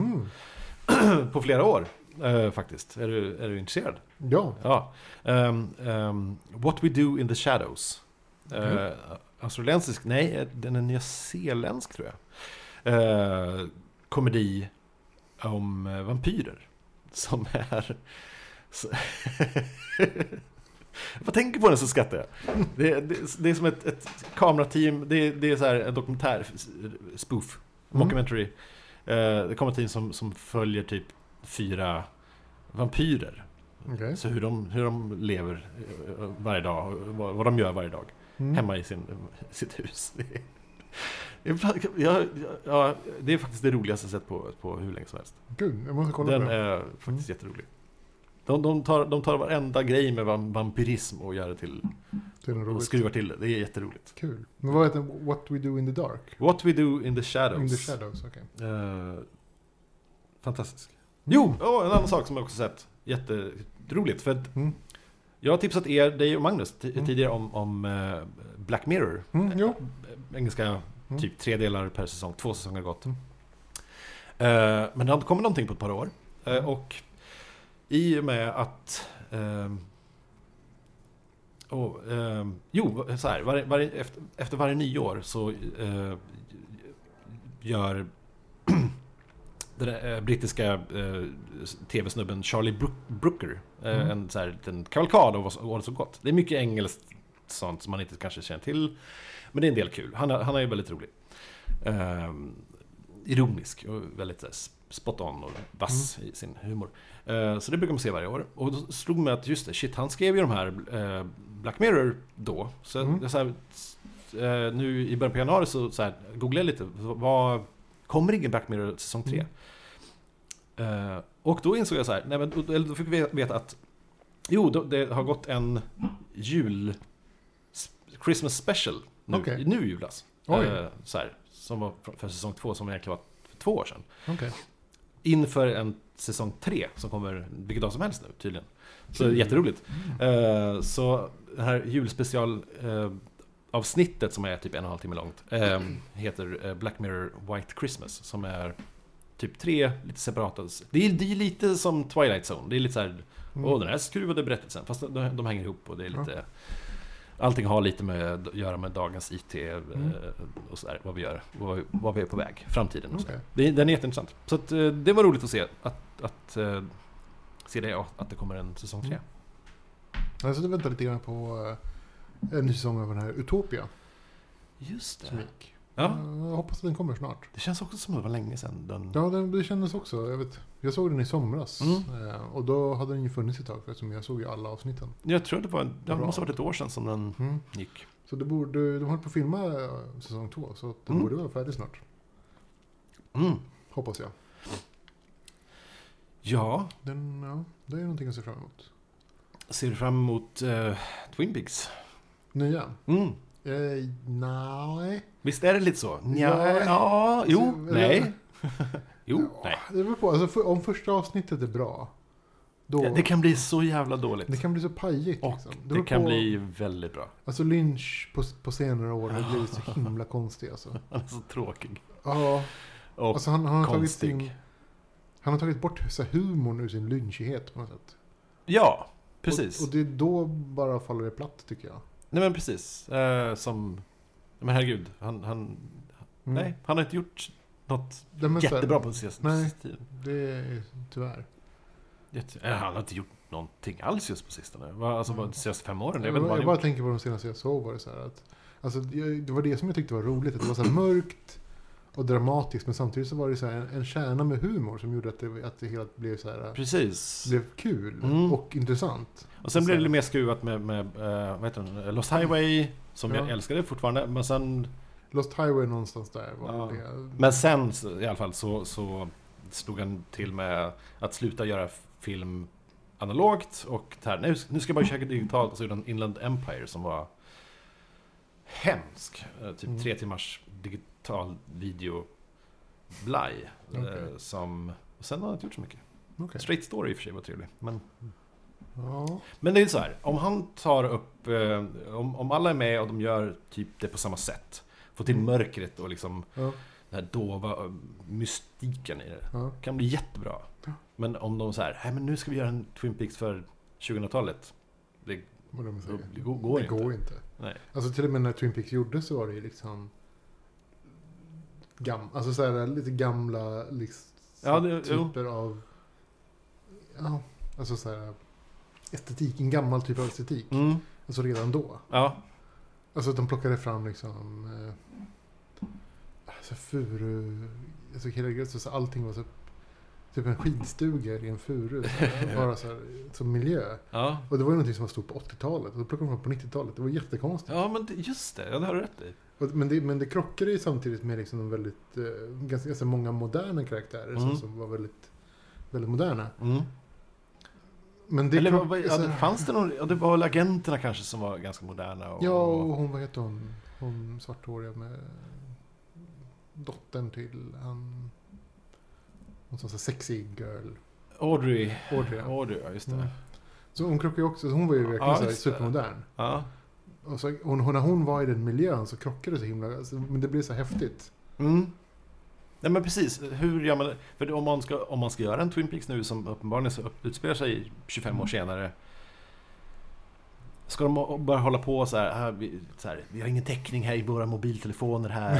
B: Mm.
A: På flera år. eh, faktiskt. Är du, är du intresserad?
B: Ja.
A: Ja. Ehm, ehm, What We Do In The Shadows. Eh, australiensisk? Nej, eh, den är nyzeeländsk tror jag. Eh, komedi om eh, vampyrer. Som är... Så- Vad tänker på den så skrattar jag. Det, det, det är som ett, ett kamerateam, det, är- det är så här en dokumentär, spoof,
B: Mm.
A: mockumentary. Eh, det kommer ett team som, som följer typ fyra vampyrer.
B: Okej.
A: Så hur de, hur de lever eh, varje dag, och vad, vad de gör varje dag.
B: Mm.
A: Hemma i sin, sitt hus. Det är- det är bland- Jag, jag, ja, det är faktiskt det roligaste jag sett på, på hur länge som helst.
B: Gud, jag måste kolla
A: Den
B: på Mm. den.
A: är faktiskt jätterolig. De, de, tar, de tar varenda grej med vam- vampyrism och gör det till
B: Det är nog
A: och
B: roligt.
A: skruvar till det. Det är jätteroligt.
B: Kul. Men vad heter den? What We Do In The Dark?
A: What we do in the shadows.
B: In The Shadows, okej. Mm.
A: Eh, fantastisk. Jo, och en annan sak som jag också sett. Jätteroligt. För att
B: Mm.
A: Jag har tipsat er, dig och Magnus, ti-
B: Mm.
A: tidigare om, om eh, Black Mirror.
B: Mm, jo.
A: Eh, Engelska,
B: Mm.
A: typ tre delar per säsong. Två säsonger har gått.
B: Mm.
A: Eh, men det har inte kommit någonting på ett par år. Eh,
B: Mm.
A: Och i och med att... ehm, åh, ehm, jo, så här. Varje, varje, efter, efter varje nyår så eh, gör den där, eh, brittiska eh, s- tv-snubben Charlie Brook- Brooker eh,
B: Mm.
A: en så här liten kavalkad av vad som- året som gått. Det är mycket engelskt sånt som man inte kanske känner till. Men det är en del kul. Han, är- han är ju väldigt rolig. Ehm, ironisk och väldigt så här, spot on och vass i sin humor. Eh, så det brukar man se varje år. Och då slog mig att just det, shit, han skrev ju de här eh, Black Mirror då. Så,
B: Mm.
A: jag, så här, s- eh, nu i början på januari så, så här, googlade jag lite. Vad, kommer ingen Black Mirror säsong 3? Eh, och då insåg jag så här, nej, men, då- eller då fick vi veta att jo, då, det har gått en jul... s- Christmas special nu,
B: Okej.
A: nu i julas.
B: Oj.
A: Eh, så här, som var för- för säsong två, som egentligen var för två år sedan.
B: Okej.
A: Inför en säsong tre som kommer vilken dag som helst nu tydligen. Så
B: Mm.
A: det är jätteroligt. Eh, så det här julspecial eh, avsnittet som är typ en och en halv timme långt eh, heter eh, Black Mirror White Christmas som är typ tre lite separata. Det är, det är lite som Twilight Zone. Det är lite så här
B: Mm.
A: och den här skruvade berättelsen, fast de, de hänger ihop och det är lite... Allting har lite med att göra med dagens IT eh,
B: Mm.
A: och sådär, vad vi gör, vad, vad vi är på väg, framtiden och
B: Okej.
A: sådär. Det, Den är jätteintressant. Så att, eh, det var roligt att se att, att eh, se det, ja, att det kommer en säsong tre.
B: Mm. Jag satt och väntade lite grann på eh, en ny säsong av den här Utopia
A: Just
B: som
A: det.
B: gick.
A: Ja,
B: Eh, Jag hoppas att den kommer snart.
A: det känns också som att det var länge sedan den...
B: Ja, den, det kändes också. Jag, vet, jag såg den i somras.
A: Mm.
B: Eh, Och då hade den ju funnits ett tag eftersom jag såg ju alla avsnitten.
A: Jag tror det var, en- ja, det
B: Bra.
A: måste ha varit ett år sedan som den
B: Mm.
A: gick.
B: Så det borde, de håller på att filma eh, säsong två så att den
A: Mm.
B: borde vara färdig snart.
A: Mm.
B: Hoppas jag.
A: Ja,
B: Den, ja, det är någonting att se fram emot.
A: ser fram emot eh, Twin Peaks.
B: Nya.
A: Mm.
B: Eh, nej.
A: Visst är det lite så?
B: Ja.
A: Ja, ja jo,
B: Alltså,
A: nej. Jo,
B: Ja,
A: nej.
B: Det beror på. Alltså, för, om första avsnittet är bra, då...
A: Ja, Det kan bli så jävla dåligt.
B: det kan bli så pajigt.
A: Och
B: liksom.
A: det
B: beror
A: kan
B: på,
A: bli väldigt bra.
B: Alltså Lynch på, på senare år har blivit så himla konstig alltså.
A: Han är så tråkig.
B: Ja,
A: Och
B: alltså han, han har tagit
A: konstig.
B: sin... Han har tagit bort så här, humorn ur sin lynchighet på något sätt.
A: Ja, precis.
B: Och, och det är då bara faller det platt tycker jag. Mm.
A: Nej men precis. Eh, som... Men herregud, han... han
B: Mm.
A: Nej, han har inte gjort något
B: Nej, men så här,
A: jättebra på senaste
B: nej.
A: tiden.
B: Det är tyvärr.
A: Jätte... eh, Han har inte gjort någonting alls just på sistone. Va, Alltså
B: Mm.
A: bara de senaste fem åren. Jag
B: Jag,
A: vet inte vad
B: bara,
A: han har gjort.
B: tänker på de senaste jag såg var det så här att... Alltså, jag, det var det som jag tyckte var roligt. Att det var så här mörkt och dramatiskt. Men samtidigt så var det så här en, en kärna med humor som gjorde att det, att det hela blev så här...
A: Precis.
B: Blev kul
A: Mm.
B: och intressant.
A: Och sen blev det lite mer skruvat med, med eh, vad heter den? Lost Highway. Som jag
B: Ja.
A: älskade fortfarande. Men sen,
B: Lost Highway någonstans där var
A: Ja.
B: det.
A: men sen så- i alla fall så, så slog han till med att sluta göra film analogt. Och det här, nu, nu ska jag bara köra digitalt. Och så gjorde han Inland Empire som var hemsk. Eh, Typ
B: Mm.
A: tre timmars digital video blaj. eh,
B: Okej.
A: Som... Och sen har han inte gjort så mycket.
B: Okej.
A: Straight Story i och för sig var trevlig. Men...
B: Ja.
A: Men det är så här, om han tar upp, eh, om, om alla är med och de gör typ det på samma sätt. Får till
B: Mm.
A: mörkret och liksom
B: Ja.
A: den här dova eh, mystiken i det.
B: Ja.
A: Kan bli jättebra.
B: Ja.
A: Men om de så här, nej men nu ska vi göra en Twin Peaks för 2000-talet. Det,
B: Vad de
A: då,
B: säger.
A: det går, går
B: det
A: inte.
B: går inte.
A: Nej.
B: Alltså till och med när Twin Peaks gjordes så var det ju liksom... Gam, alltså så här, lite gamla liksom,
A: Ja, det- jo.
B: typer av... Ja, alltså så här... Estetik, en gammal typ av estetik.
A: Mm,
B: Alltså redan då.
A: ja,
B: Alltså de plockade fram liksom... Eh, alltså furu... Alltså hela grejen, så så allting var så... Typ en skidstuga i en furu. Så här, bara så här, som miljö.
A: ja.
B: Och det var ju någonting som var stort på 80-talet. Och då plockade de fram på 90-talet. Det var jättekonstigt.
A: Ja men det, just det, ja, det har du rätt i.
B: Och- Men det, men det krockade ju samtidigt med liksom de väldigt, eh, ganska, ganska många moderna karaktärer som,
A: Mm.
B: som var väldigt, väldigt moderna.
A: Mm.
B: Men det
A: Eller
B: krock-
A: vad- ja,
B: alltså-
A: det, fanns det någon, ja, det var väl agenterna kanske som var ganska moderna. Och,
B: ja, och hon, vad heter hon? Hon svarthåriga med dottern till han... Hon som sa sexy girl.
A: Audrey.
B: Audrey. ja.
A: Audrey, ja just det.
B: Mm. Så hon krockade ju också, så hon var ju verkligen
A: Ja,
B: så här
A: just det.
B: supermodern.
A: Ja.
B: Och så, hon, hon, när hon var i den miljön så krockade det så himla, alltså, men det blev så häftigt.
A: Mm. Nej men precis, hur gör man det? För om man ska, om man ska göra en Twin Peaks nu som uppenbarligen så upp- utspelar sig 25
B: Mm.
A: år senare. Ska de å- bara hålla på så här, här, "Ah, vi, så här, vi har ingen täckning här i våra mobiltelefoner här.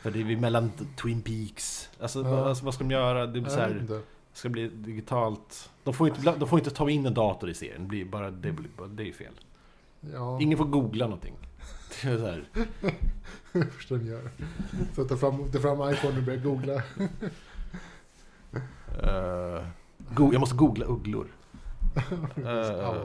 A: för det är vi mellan t- Twin Peaks. Alltså,
B: Ja.
A: vad- alltså vad ska de göra? Det blir så
B: Jag vet
A: här,
B: inte.
A: ska bli digitalt. De får, inte, bla- de får inte ta in en dator i serien, det, blir bara, det, blir, bara- det är fel.
B: Ja.
A: Ingen får googla någonting. Det är så här.
B: Det första de gör. Så ta fram, ta fram iPhone och börja googla.
A: eh, go- jag måste googla ugglor. Eh.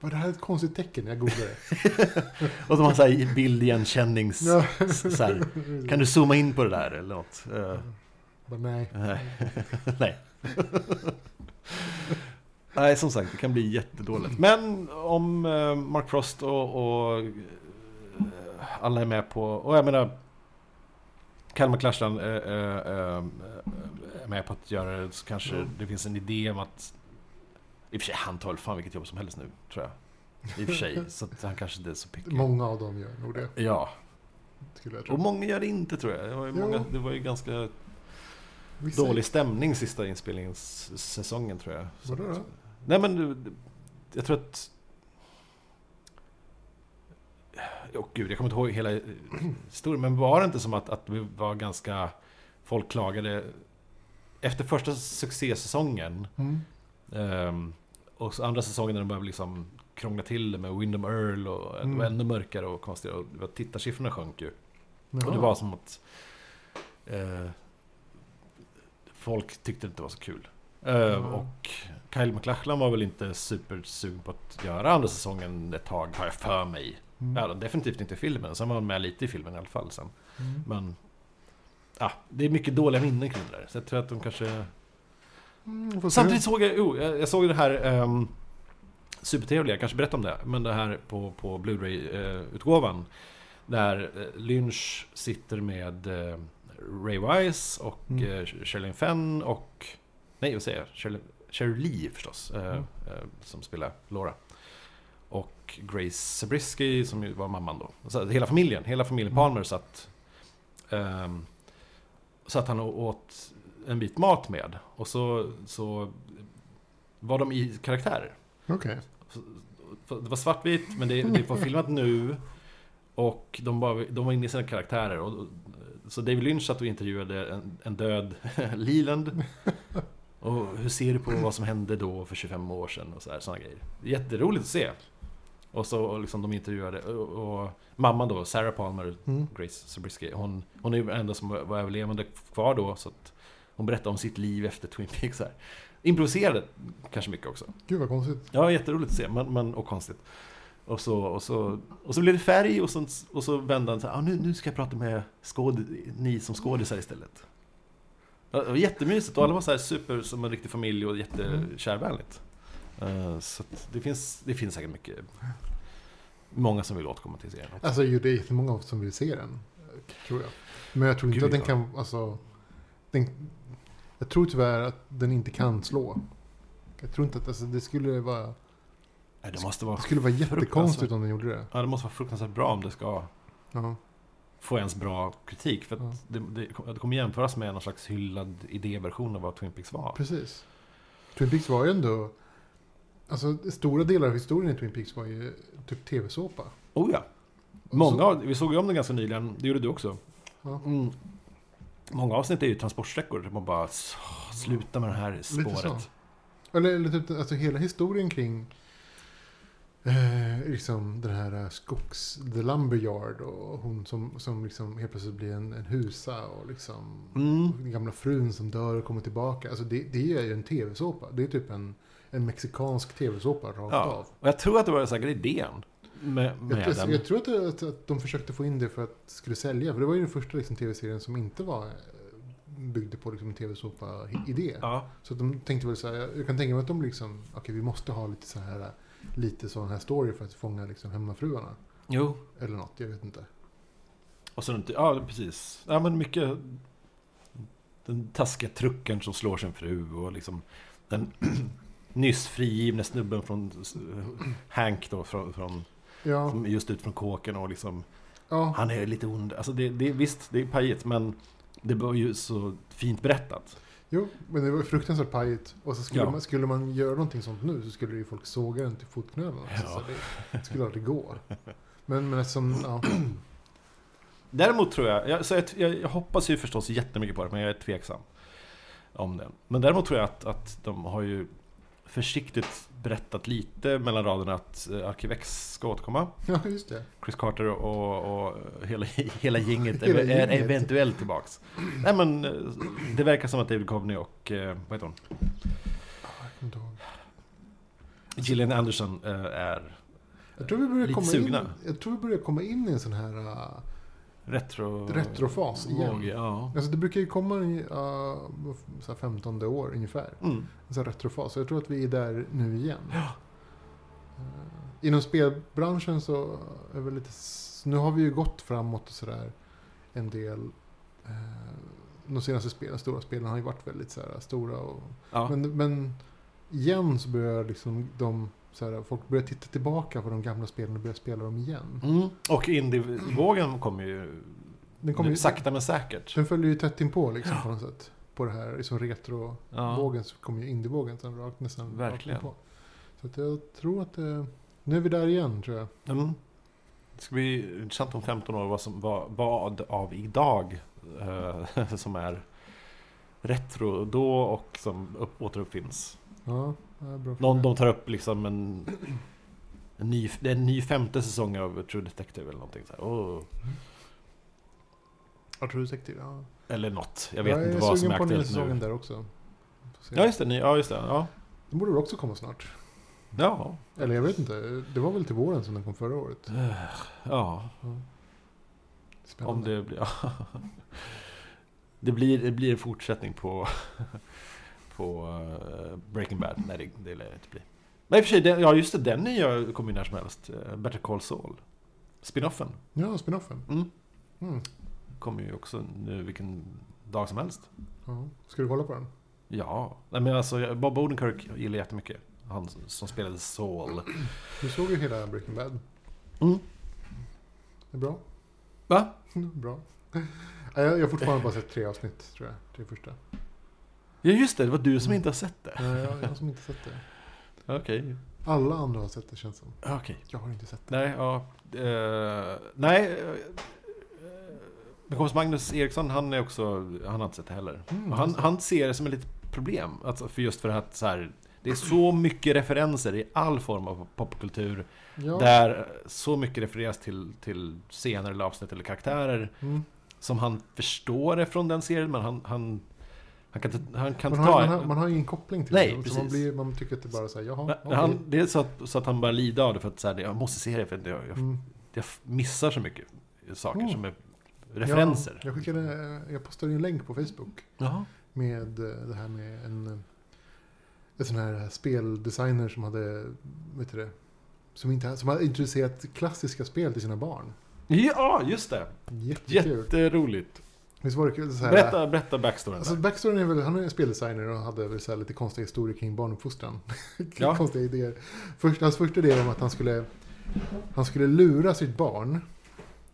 B: Bara, det här är ett konstigt tecken, jag googlar det.
A: Och de har så här bildigenkännings...
B: Ja.
A: Så här, kan du zooma in på det där eller något? Eh,
B: Bara, nej.
A: nej. nej, som sagt, det kan bli jättedåligt. Men om eh, Mark Frost och, och eh, alla är med på... Och jag menar... Kalmar Clashland eh, eh, eh, är med på att göra det så kanske
B: Mm.
A: det finns en idé om att... I och för sig, han tar väl fan vilket jobb som helst nu, tror jag. I och för sig, så att han kanske inte är så picky.
B: Många av dem gör nog det,
A: Ja.
B: skulle jag
A: Och
B: tro.
A: många gör det inte tror jag. Det var ju,
B: Jo.
A: många, det var ju ganska
B: Vissa-
A: dålig stämning sista inspelningssäsongen tror jag. Så-
B: Vadå då?
A: Nej men du- jag tror att... Åh gud, jag kommer inte ihåg hela eh, historien. Men var det inte som att, att vi var ganska... Folk klagade... Efter första succésäsongen
B: Mm.
A: ehm, och så andra säsongen när de började liksom krångla till det med Windham Earl och det
B: Mm.
A: var ännu mörkare och konstigare. Och det var- tittarsiffrorna sjönk ju.
B: Jaha.
A: Och det var som att eh, folk tyckte det inte var så kul. Eh,
B: Ja.
A: Och Kyle MacLachlan var väl inte supersugen på att göra andra säsongen ett tag, har jag för mig.
B: Mm.
A: Ja, definitivt inte i filmen, sen var han med lite i filmen i alla fall sen.
B: Mm.
A: Men ah, det är mycket dåliga minnen kring det där. Så jag tror att de kanske...
B: Mm, får se.
A: Samtidigt såg jag, jo, jag jag såg det här ehm, eh, supertrevliga, jag kanske berättade om det, men det här på, på Blu-ray-utgåvan. Där eh, Lynch sitter med eh, Ray Wise och
B: Mm.
A: mm. Sherilyn Fenn och... Nej, vad säger jag? Sherilyn- Sheryl Lee förstås, eh,
B: Mm.
A: eh, som spelar Laura. Och Grace Zabriskie som ju var mamman då. Så att hela familjen, hela familjen
B: Mm.
A: Palmer satt... ehm, satt han och åt en bit mat med. Och så, så var de i karaktärer.
B: Okej.
A: Det var svartvitt, men det, det var filmat nu. Och de var, de var inne i sina karaktärer. Och, och- så David Lynch satt och intervjuade en, en död Leland. Och hur ser du på vad som hände då för 25 år sedan? Och så här, såna grejer. Jätteroligt att se. Och så och liksom de intervjuade, och, och mamman då, Sarah Palmer,
B: Mm.
A: Grace Zabriskie, hon, hon är ju den enda som var, var överlevande kvar då. Så att hon berättade om sitt liv efter Twin Peaks. så Här. Improviserade kanske mycket också.
B: Gud vad konstigt.
A: Ja, jätteroligt att se, men, men, och konstigt. Och så, och, så, och så blev det färg och så, och så vände han så här, ah, nu, nu ska jag prata med skåd, ni som skådisar istället. Ja, Det var jättemysigt och alla var så här super som en riktig familj och jättekärvänligt. Eh, Så att det, finns, det finns säkert mycket, många som vill återkomma till serien. också.
B: Alltså ju, det är jättemånga som vill se den. Tror jag. Men jag tror inte
A: Gud,
B: att den
A: ja.
B: kan, alltså. Den, jag tror tyvärr att den inte kan slå. Jag tror inte att, alltså det skulle vara,
A: Nej, Det måste, vara,
B: det skulle vara jättekonstigt om den gjorde det.
A: ja, det måste vara fruktansvärt bra om det ska
B: Ja.
A: få ens bra kritik. För att
B: Ja.
A: det, det, det kommer jämföras med någon slags hyllad idéversion av vad Twin Peaks var.
B: Precis. Twin Peaks var ju ändå... Alltså, stora delar av historien i Twin Peaks var ju typ tv-såpa.
A: Oh ja.
B: Och
A: Många,
B: så-
A: av- vi såg ju om den ganska nyligen, det gjorde du också.
B: Ja.
A: Mm. Många avsnitt är ju transportsträckor, där man bara "S- sluta med det här spåret.
B: Eller, eller typ alltså, hela historien kring eh, liksom den här eh, skogs... The Lumberyard och hon som, som liksom helt plötsligt blir en, en husa och liksom...
A: Mm.
B: och Den gamla frun som dör och kommer tillbaka. Alltså det, det är ju en tv-såpa. Det är typ en, en mexikansk tv-såpa rakt
A: Ja.
B: av.
A: Och jag tror att det var säkert idén med, med
B: Jag, tror-
A: den.
B: jag tror att, det- att, att de försökte få in det för att det skulle sälja. För det var ju den första liksom, tv-serien som inte var eh, byggde på liksom, en tv-såpa-idé.
A: Ja.
B: Så att de tänkte väl så här, jag kan tänka mig att de liksom, okej vi måste ha lite så här, lite sån här story för att fånga liksom hemmafruarna.
A: Jo.
B: Eller något, jag vet inte.
A: Och sen, ja precis. Ja men mycket den taskiga trucken som slår sin fru och liksom den nyss frigivne snubben från Hank då, från, från,
B: Ja,
A: som är just ut från kåken och liksom
B: ja,
A: Han är lite ond. Alltså det, det, visst, det är pajigt, men det var ju så fint berättat.
B: jo, men det var fruktansvärt pajigt. Och så skulle,
A: Ja.
B: man, skulle man göra någonting sånt nu så skulle ju folk såga den till fotknölarna. Så,
A: Ja.
B: så det skulle aldrig gå. Men, men eftersom, ja,
A: Däremot tror jag, jag, så jag, jag, jag hoppas ju förstås jättemycket på det, men jag är tveksam om det. Men däremot tror jag att, att de har ju försiktigt berättat lite mellan raderna att eh, Arkivex ska återkomma.
B: ja just det.
A: Chris Carter och, och hela, hela gänget
B: Hela
A: är,
B: gänget.
A: är eventuellt tillbaks. Nej men, eh, det verkar som att David Coveney och, eh, vad heter hon?
B: Jag kommer inte ihåg.
A: Gillian Anderson eh, är
B: Jag tror, vi börjar
A: Lite
B: komma in,
A: sugna.
B: jag tror vi börjar komma in i en sån här... äh,
A: retro...
B: Retrofas igen.
A: våg, ja.
B: alltså det brukar ju komma i äh, så här 15 år ungefär.
A: Mm.
B: en sån här retrofas. Så jag tror att vi är där nu igen. Eh, Inom spelbranschen så är väl lite... s- Nu har vi ju gått framåt och sådär en del. eh, De senaste spelen, stora spelen har ju varit väldigt så här stora. Och,
A: Ja.
B: men, men igen så börjar liksom de... Så här, folk börjar titta tillbaka på de gamla spelen och börjar spela dem igen.
A: Mm. Och indievågen kommer ju
B: Den, kommer ju,
A: sakta men säkert.
B: den följer ju tätt inpå liksom på något sätt. På det här liksom retro...
A: Ja.
B: vågen så kommer ju indievågen sen rakt nästan
A: Verkligen.
B: rakt på. Så att jag tror att det, nu är vi där igen tror jag.
A: Mm. Det ska bli intressant om 15 år vad, som, vad, vad av idag eh, som är retro då och som upp, återuppfinns.
B: Ja, det är bra.
A: Någon, de tar upp liksom en, en, ny, det är en ny femte säsong av True Detective eller någonting. Så här. Oh. Åh.
B: Ja, tror du säkert, ja.
A: Eller något. Jag vet
B: jag
A: inte vad som är
B: sugen på den
A: aktuellt
B: säsongen
A: nu.
B: där också. Får se.
A: Ja just det, ny, ja just det. Ja.
B: Den borde väl också komma snart.
A: Ja.
B: Eller jag vet inte, det var väl till våren som den kom förra året.
A: ja. Om
B: Spännande.
A: det blir... Ja. Det blir, det blir en fortsättning på, på eh, Breaking Bad. Nej, det, det lär det inte bli. Men i och för sig, den, ja just det, den nya kommer ju när som helst. Eh, Better Call Saul. Spinoffen
B: Ja, spinoffen.
C: Mm.
B: Mm.
A: kommer ju också nu vilken dag som helst.
B: Ja. Ska du kolla på den?
A: Ja, Nej, men alltså jag- Bob Odenkirk gillar jag jättemycket. Han som- som spelade Saul.
B: Du såg ju hela Breaking Bad.
A: Mm.
B: Det är bra.
A: Va?
B: bra. Nej, Jag jag har fortfarande bara sett tre avsnitt, tror jag. Tre första.
A: Ja just det, det var du som
B: Mm.
A: inte har sett det.
B: Nej, jag, jag har som inte sett det.
A: Okej.
B: Alla andra har sett det, känns som.
A: Ah, Okej.
B: Jag har inte sett det.
A: Nej, ja. eh, nej. eh, Min kompis Magnus Eriksson, han är också, han har inte sett det heller.
B: Mm,
A: Och han,
B: alltså.
A: han ser det som ett litet problem. Alltså, för just för att så här, det är så mycket referenser i all form av popkultur.
B: Ja.
A: Där så mycket refereras till, till scener eller avsnitt eller karaktärer.
B: Mm.
A: Som han förstår det från den serien, men han, han, han kan inte, han kan
B: Man,
A: inte
B: har,
A: ta...
B: man, har, man har ingen koppling till
A: Nej,
B: det. Så man,
A: precis.
B: blir, man tycker att det bara är så här, jaha,
A: Men
B: okej.
A: han, det är så att, så att han börjar lida av det för att så här, jag måste se det för att jag, jag,
B: Mm.
A: jag missar så mycket saker
B: Mm.
A: som är referenser.
B: Jag, jag, skickade, eh, jag postade ju en länk på Facebook
A: Ja.
B: med eh, det här med en, eh, en sån här speldesigner som hade, vet du det, som, inte, som hade introducerat klassiska spel till sina barn.
A: ja, just det.
B: Jättekul.
A: Jätteroligt.
B: Visst var det kul? Så här,
A: Berätta, berätta backstoryn.
B: Alltså
A: där.
B: backstoryn är väl, han är speldesigner och hade väl så här lite konstiga historier kring barnuppfostran.
A: Ja.
B: konstiga idéer. Först, hans första idé var att han skulle, han skulle lura sitt barn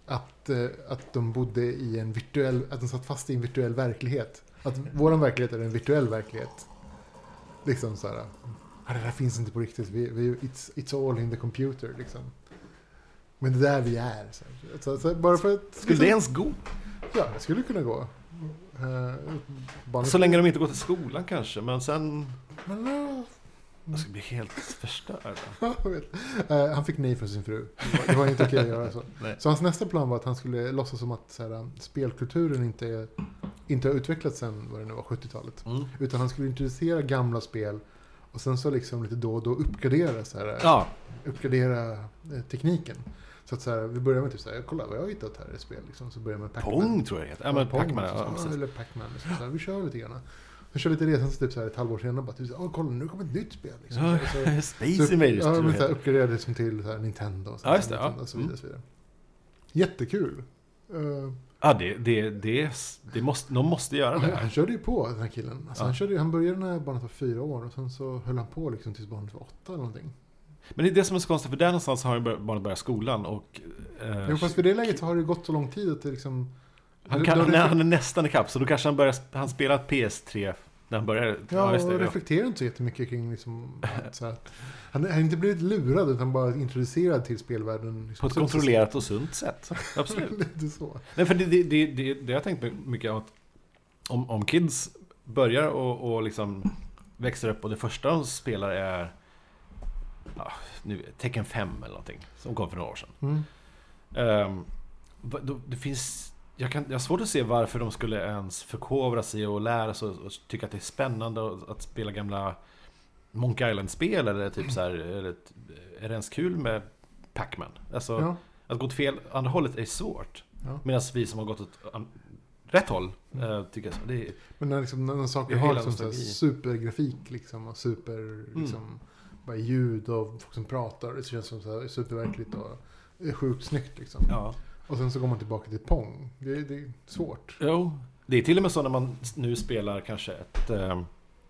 B: att, eh, att de bodde i en virtuell, att de satt fast i en virtuell verklighet. Att våran verklighet är en virtuell verklighet. Liksom så här, "Ah, det där finns inte på riktigt, vi, vi, it's, it's all in the computer liksom. Men det är där vi är. Så, så, så, bara för att,
A: Skulle det ens gå?
B: Ja, det skulle kunna gå. Eh, barnet-
A: Så länge de inte går till skolan kanske, men sen...
B: Men, eh,
A: Jag ska bli helt förstörd.
B: jag vet. Eh, han fick nej från sin fru. Det var- Det var inte okej att göra så.
A: Nej.
B: Så hans nästa plan var att han skulle låtsas som att så här, um, spelkulturen inte, är- inte har utvecklats sen vad det nu var, 70-talet.
A: Mm.
B: Utan han skulle introducera gamla spel och sen så liksom lite då och då uppgradera, så här,
A: Ja,
B: uppgradera eh, tekniken. Så att så här, vi börjar med typ så här, kolla vad jag har hittat här i spel. Liksom. Så börjar man med Pac-Man.
A: Pong tror jag det heter. Ja, men
B: Pong,
A: Pac-Man.
B: liksom,
A: Ja,
B: så,
A: precis.
B: eller Pac-Man. Liksom, så här, vi kör lite grann. Vi kör lite resan så typ så här ett halvår senare bara typ så här, åh kolla nu kommer ett nytt spel. Liksom.
A: Ja,
B: Så- så-
A: Space Invaders
B: Ja,
A: tror
B: men
A: jag
B: så här,
A: det
B: uppgraderade liksom till så här, Nintendo och så,
A: Ja, just det,
B: Nintendo
A: ja. Mm.
B: och så vidare. och Så vidare. Jättekul. Eh,
A: Ja, det, det, det, det måste, de måste göra det.
B: han körde ju på den här killen. Alltså,
A: Ja.
B: han, körde, ju- han började när barnet var fyra år och sen så höll han på liksom tills barnet var åtta eller någonting.
A: Men det är det som är så konstigt, för där någonstans har ju bör- barnet börjat skolan och... eh,
B: Jo, fast vid det läget så har det gått så lång tid att det liksom...
A: han,
B: då-
A: kan,
B: då
A: han,
B: reflek-
A: är- han är nästan ikapp, så då kanske han börjar... sp- Han spelar PS3 när han börjar...
B: Ja,
A: just det,
B: och reflekterar inte så jättemycket kring liksom, att, så att han han har inte blivit lurad utan bara introducerad till spelvärlden. Liksom,
A: På ett
B: Så-
A: kontrollerat och sunt sätt.
B: så-
A: Absolut.
B: Lite så.
A: Nej, för det, det, det, det, det har jag tänkt mycket om att om, om kids börjar och, och liksom växer upp och det första de spelar är ja, nu, Tecken 5 eller någonting som kom för några år sedan.
B: Mm.
A: Ehm, va- då, det finns... Jag, kan, jag har svårt att se varför de skulle ens förkovra sig och lära sig och, och tycka att det är spännande att, att spela gamla Monkey Island-spel eller typ så här, eller, ett- är det ens kul med Pac-Man? Alltså,
B: Ja.
A: att gå åt fel andra hållet är svårt.
B: Ja. Mm.
A: Medan vi som har gått åt an- rätt håll, eh, tycker jag, så. det är,
B: Men när, liksom, när när saker
A: Jag
B: har
A: gillar
B: liksom, så här,
A: nostalgi. Mm.
B: supergrafik liksom, och super liksom, bara ljud och folk som pratar. Det känns som så här, superverkligt och är sjukt snyggt. Liksom.
A: ja.
B: Och sen så går man tillbaka till Pong. Det, det är svårt.
A: Jo, det är till och med så när man s- nu spelar kanske ett... Eh,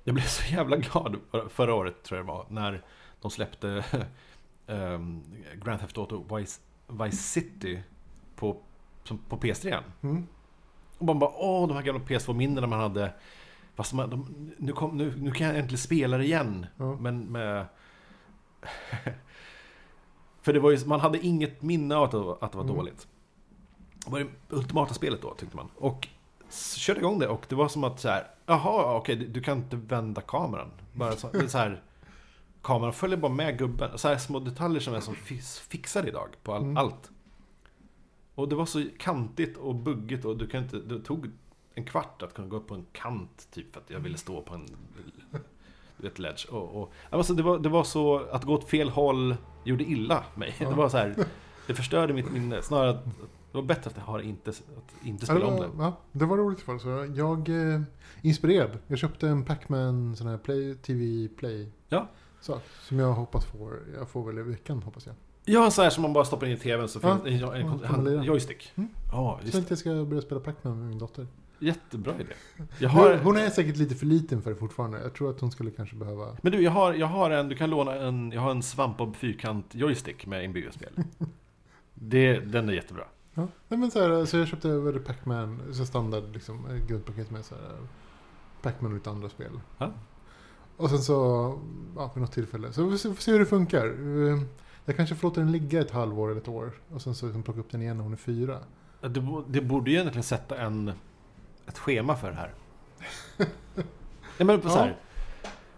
A: jag blev så jävla glad för- förra året, tror jag det var, när de släppte eh, Grand Theft Auto Vice, Vice City på, som, på PS3.
B: Mm.
A: Och man bara, åh, de här gamla PS2-minnena man hade. Fast man, de, nu, kom, nu, nu kan jag äntligen spela det igen.
B: Ja.
A: Men med... För det var ju, man hade inget minne av att det var, att det var
B: Mm.
A: dåligt. Det var det ultimata spelet då, tyckte man. Och så körde igång det och det var som att så här, jaha, okej, du- du kan inte vända kameran. Bara så, det är så här, kameran följer bara med gubben. Så här små detaljer som är som fix- fixar idag på all,
B: Mm.
A: allt. Och det var så kantigt och buggigt och du kan inte, det tog en kvart att kunna gå upp på en kant typ för att jag ville stå på en du vet, ledge. Och, och, alltså, det, var, det var så, att gå åt fel håll gjorde illa mig.
B: Ja.
A: Det var så här, det förstörde mitt minne. Snarare att det var bättre att jag har inte, att inte
B: Ja, det,
A: spela om det.
B: var, ja, det var roligt för så Jag eh, inspirerad. Jag köpte en Pac-Man sån här play, TV Play.
A: Ja.
B: Så, som jag hoppas får. Jag får väl i veckan hoppas jag.
A: Ja, så här som man bara stoppar in i TVn så
B: Ja.
A: finns en, en, en,
B: Ja, kan man lira.
A: en joystick. Ja,
B: Mm. Jag
A: just
B: tänkte
A: det.
B: jag ska börja spela Pac-Man med min dotter.
A: Jättebra idé. Jag har,
B: Mm. Hon- Hon är säkert lite för liten för det fortfarande. Jag tror att hon skulle kanske behöva...
A: men du, jag har, jag har en, du kan låna en, jag har en svampbob fyrkant joystick med inbyggt spel. Det, den är jättebra.
B: Ja. Nej, men så, här, så jag köpte över Pac-Man, så standard liksom, eh, grundpaket med så här, Pac-Man och lite andra spel.
A: Ja.
B: Och sen så, ja, vid något tillfälle. Så vi får se- får se hur det funkar. Eh, Jag kanske får låta den ligga ett halvår eller ett år. Och sen så liksom plocka upp den igen när hon är fyra.
A: Det, bo- det borde ju egentligen sätta en, ett schema för det här. Nej men på så här,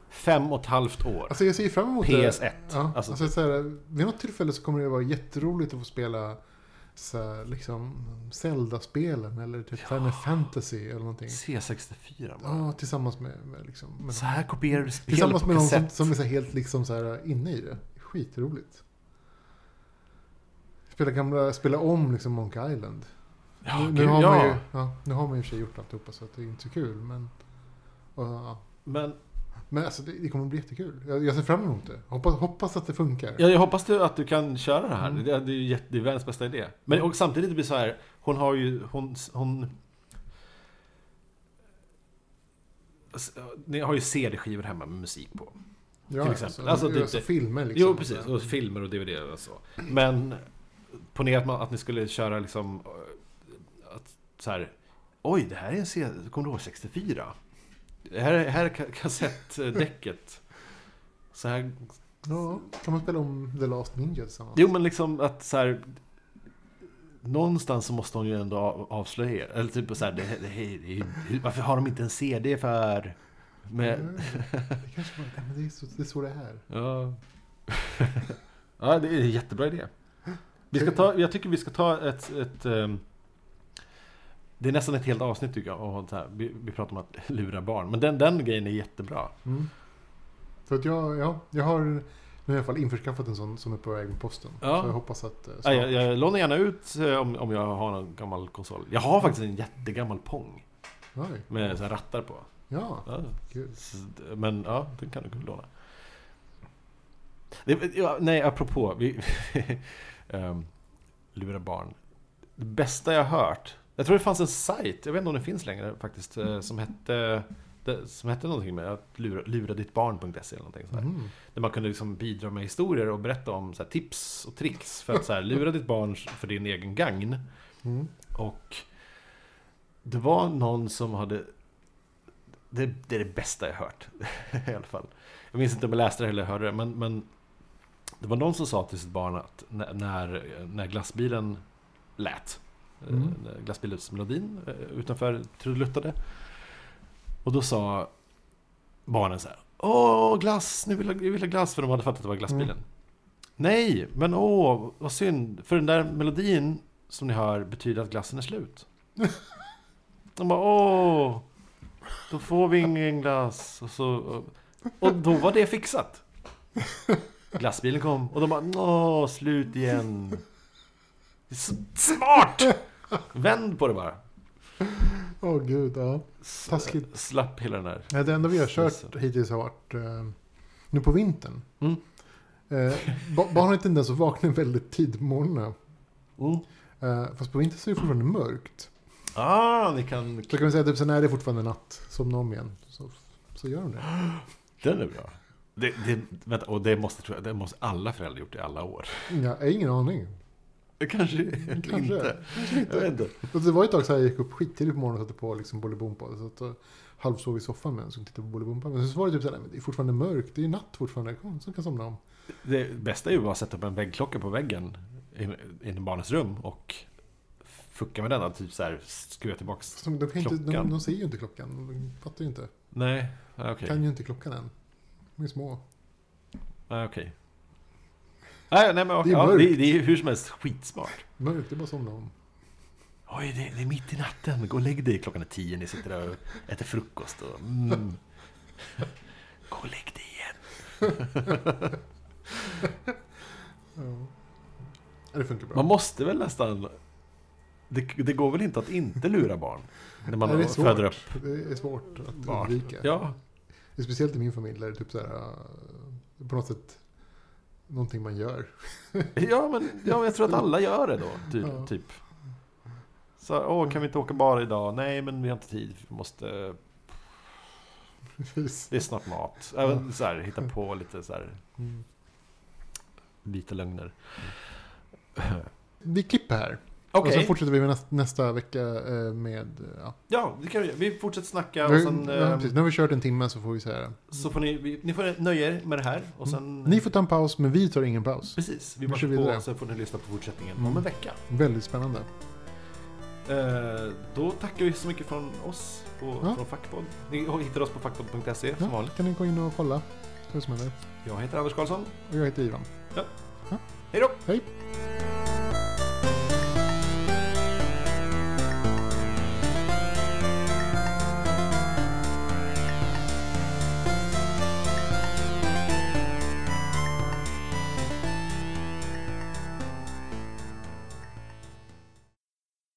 A: fem och ett halvt år.
B: Alltså jag ser fram emot det.
A: PS1.
B: Ja,
A: Alltså-
B: alltså, så här, vid något tillfälle så kommer det vara jätteroligt att få spela så här, liksom Zelda-spelen eller typ Final Fantasy eller någonting.
A: C64 bara.
B: Ja, tillsammans med, med, liksom, med
A: Så här kopierar du spel
B: Tillsammans
A: på
B: med någon som,
A: kassett.
B: som är så här helt liksom så här inne i det. Skitroligt. Spela, gamla, spela om liksom Monk Island.
A: Ja,
B: nu, nu,
A: gud,
B: har man
A: ja.
B: ju, ja, nu har man ju i och för sig gjort alltihopa så att det är inte så kul. Men, och, ja.
A: Men
B: men alltså, det, det kommer bli jättekul. Jag, jag ser fram emot det. Hoppas, hoppas att det funkar.
A: Ja, jag hoppas du, att du kan köra det här.
B: Mm.
A: Det, det är ju jätte, det är världens bästa idé. Men och samtidigt det blir så här, hon har ju, hon... hon S- ni har ju CD-skivor hemma med musik på.
B: Ja,
A: till exempel. Alltså,
B: alltså,
A: typ
B: alltså
A: det-
B: filmer liksom.
A: Jo, precis. Och filmer och DVD och så. Men ponera att, man, att ni skulle köra liksom... eh, Att, så här, Oj, det här är en C Kommer du ihåg 64? Det här, är- här är ka- kassettdäcket. Så här,
B: Ja, kan man spela om The Last Ninja tillsammans?
A: jo, men liksom att så här... Någonstans så måste hon ju ändå av- avslöja. Eller typ så här, det, det, det, det, varför har de inte en CD för... Med,
B: Mm. Det kanske bara, nej, men det är så det är, så det är.
A: Ja. ja, det är en jättebra idé. Vi ska ta, jag tycker vi ska ta ett... ett ehm, det är nästan ett helt avsnitt tycker jag. Och så här, vi, vi pratar om att lura barn. Men den, den grejen är jättebra.
B: Mm. Så att jag, ja, jag har nu i alla fall införskaffat en sån som är på väg med posten.
A: Ja.
B: Så jag hoppas att... eh,
A: Ja,
B: snart-
A: jag, jag lånar gärna ut eh, om, om jag har någon gammal konsol. Jag har faktiskt en jättegammal Pong.
B: Oj,
A: Med så här rattar på.
B: ja,
A: Ja,
B: kul.
A: så, men ja, den kan du låna. Det, ja, nej, apropå. Vi, ehm, lura barn. Det bästa jag hört. Jag tror det fanns en sajt, jag vet inte om den finns längre faktiskt, eh, som hette, det- som hette någonting med att lura, luradittbarn.se eller någonting sådär.
B: Mm.
A: Där man kunde liksom bidra med historier och berätta om så här, tips och tricks för att så här, lura ditt barn för din egen gagn.
B: Mm.
A: Och det var någon som hade... Det, det är det bästa jag hört. I alla fall. Jag minns inte om jag läste det eller hörde det, men, men det var någon som sa till sitt barn att när- när, när glassbilen lät,
B: Mm.
A: mm. glassbilsmelodin eh, utanför trudeluttade, och då sa barnen så här Åh, glass! Nu vill jag, jag vill ha glass! För de hade fattat att det var glassbilen.
B: Mm.
A: Nej, men åh, vad synd. För den där melodin som ni hör betyder att glassen är slut. De bara åh, då får vi ingen glass. Och, så, och då var det fixat. Glassbilen kom och de bara åh, slut igen. Det är så Smart! Vänd på det bara.
B: Åh gud, ja.
A: S-
B: Taskigt.
A: Slapp hela den här.
B: Nej, Det enda vi har
A: Så-
B: kört hittills har varit eh, nu på vintern.
A: Mm.
B: Eh, ba- barn har en tendens att vakna väldigt tid på morgonen.
A: Mm.
B: Eh, fast på vintern så är det fortfarande mörkt.
A: Ah, ni kan...
B: Så kan vi säga typ, sen är det fortfarande natt. Somna om igen. Så, så gör de det.
A: Den är bra. Det, det, vänta, och det måste, tror jag, det måste alla föräldrar gjort i alla år.
B: Ja, jag har ingen aning.
A: Kanske,
B: Kanske.
A: inte.
B: Kanske
A: Jag
B: inte.
A: vet inte.
B: Och det var ett tag så här, jag gick upp skittidigt på morgonen och satte på liksom Bolibompa. Så att jag halvsov i soffan med en som tittade på Bolibompa. Men så var det typ så här, nej, men det är fortfarande mörkt, det är ju natt fortfarande. Kom, så kan jag somna om.
A: Det bästa är ju bara att sätta upp en väggklocka på väggen in- inom barnens rum och fucka med den. och Typ så här skruva tillbaks.
B: Fast de, de, kan ju inte,
A: Klockan.
B: de, de ser ju inte klockan, de fattar ju inte.
A: Nej, okej.
B: Kan ju inte klockan än. De är små.
A: Nej, okej. Nej, nej, men okej.
B: Det är
A: ja, det,
B: mörkt.
A: det är hur som helst skitsmart.
B: Mörkt, det är bara att somna om.
A: Oj, det, det är mitt i natten. Gå och lägg dig. Klockan är tio. Ni sitter där och äter frukost. Och, mm. Gå och lägg dig igen.
B: Ja. Ja, Det funkar bra.
A: Man måste väl nästan... Det, det går väl inte att inte lura barn? När
B: Nej, det är
A: man
B: svårt.
A: föder upp
B: Det är svårt att
A: barn.
B: undvika.
A: Ja,
B: Det är Speciellt i min familj där det är typ så här, eh, på något sätt någonting man gör.
A: Ja men, ja, men jag tror att alla gör det då, ty,
B: Mm. Ja.
A: typ. Så här, åh kan vi inte åka bar idag? Nej men vi har inte tid, vi måste...
B: Precis.
A: Det är snart mat. Även så här, hitta på lite så här
B: Mm.
A: vita lögner.
B: Vi klipper här. Och
A: Okej,
B: sen fortsätter vi med nästa, nästa vecka eh, med... eh, Ja.
A: ja det kan vi göra. Vi fortsätter snacka och
B: Vi-
A: sen...
B: ja,
A: ehm,
B: precis. Nu har vi kört en timme så får vi säga det.
A: så får ni, vi- ni får nöja er med det här och sen...
B: Mm. Ni får ta en paus men vi tar ingen paus.
A: Precis, vi
B: Vi kör
A: marsar på
B: vidare.
A: och sen får ni lyssna på fortsättningen om
B: Mm.
A: en vecka.
B: Väldigt spännande.
A: Eh, då tackar vi så mycket från oss på,
B: Ja.
A: från Fackpodd. Ni hittar oss på fackpodd.se som
B: Ja,
A: vanligt.
B: kan ni gå in och kolla vad som händer.
A: Jag heter Anders Karlsson.
B: Och jag heter Ivan.
A: Hej då!
B: Hej!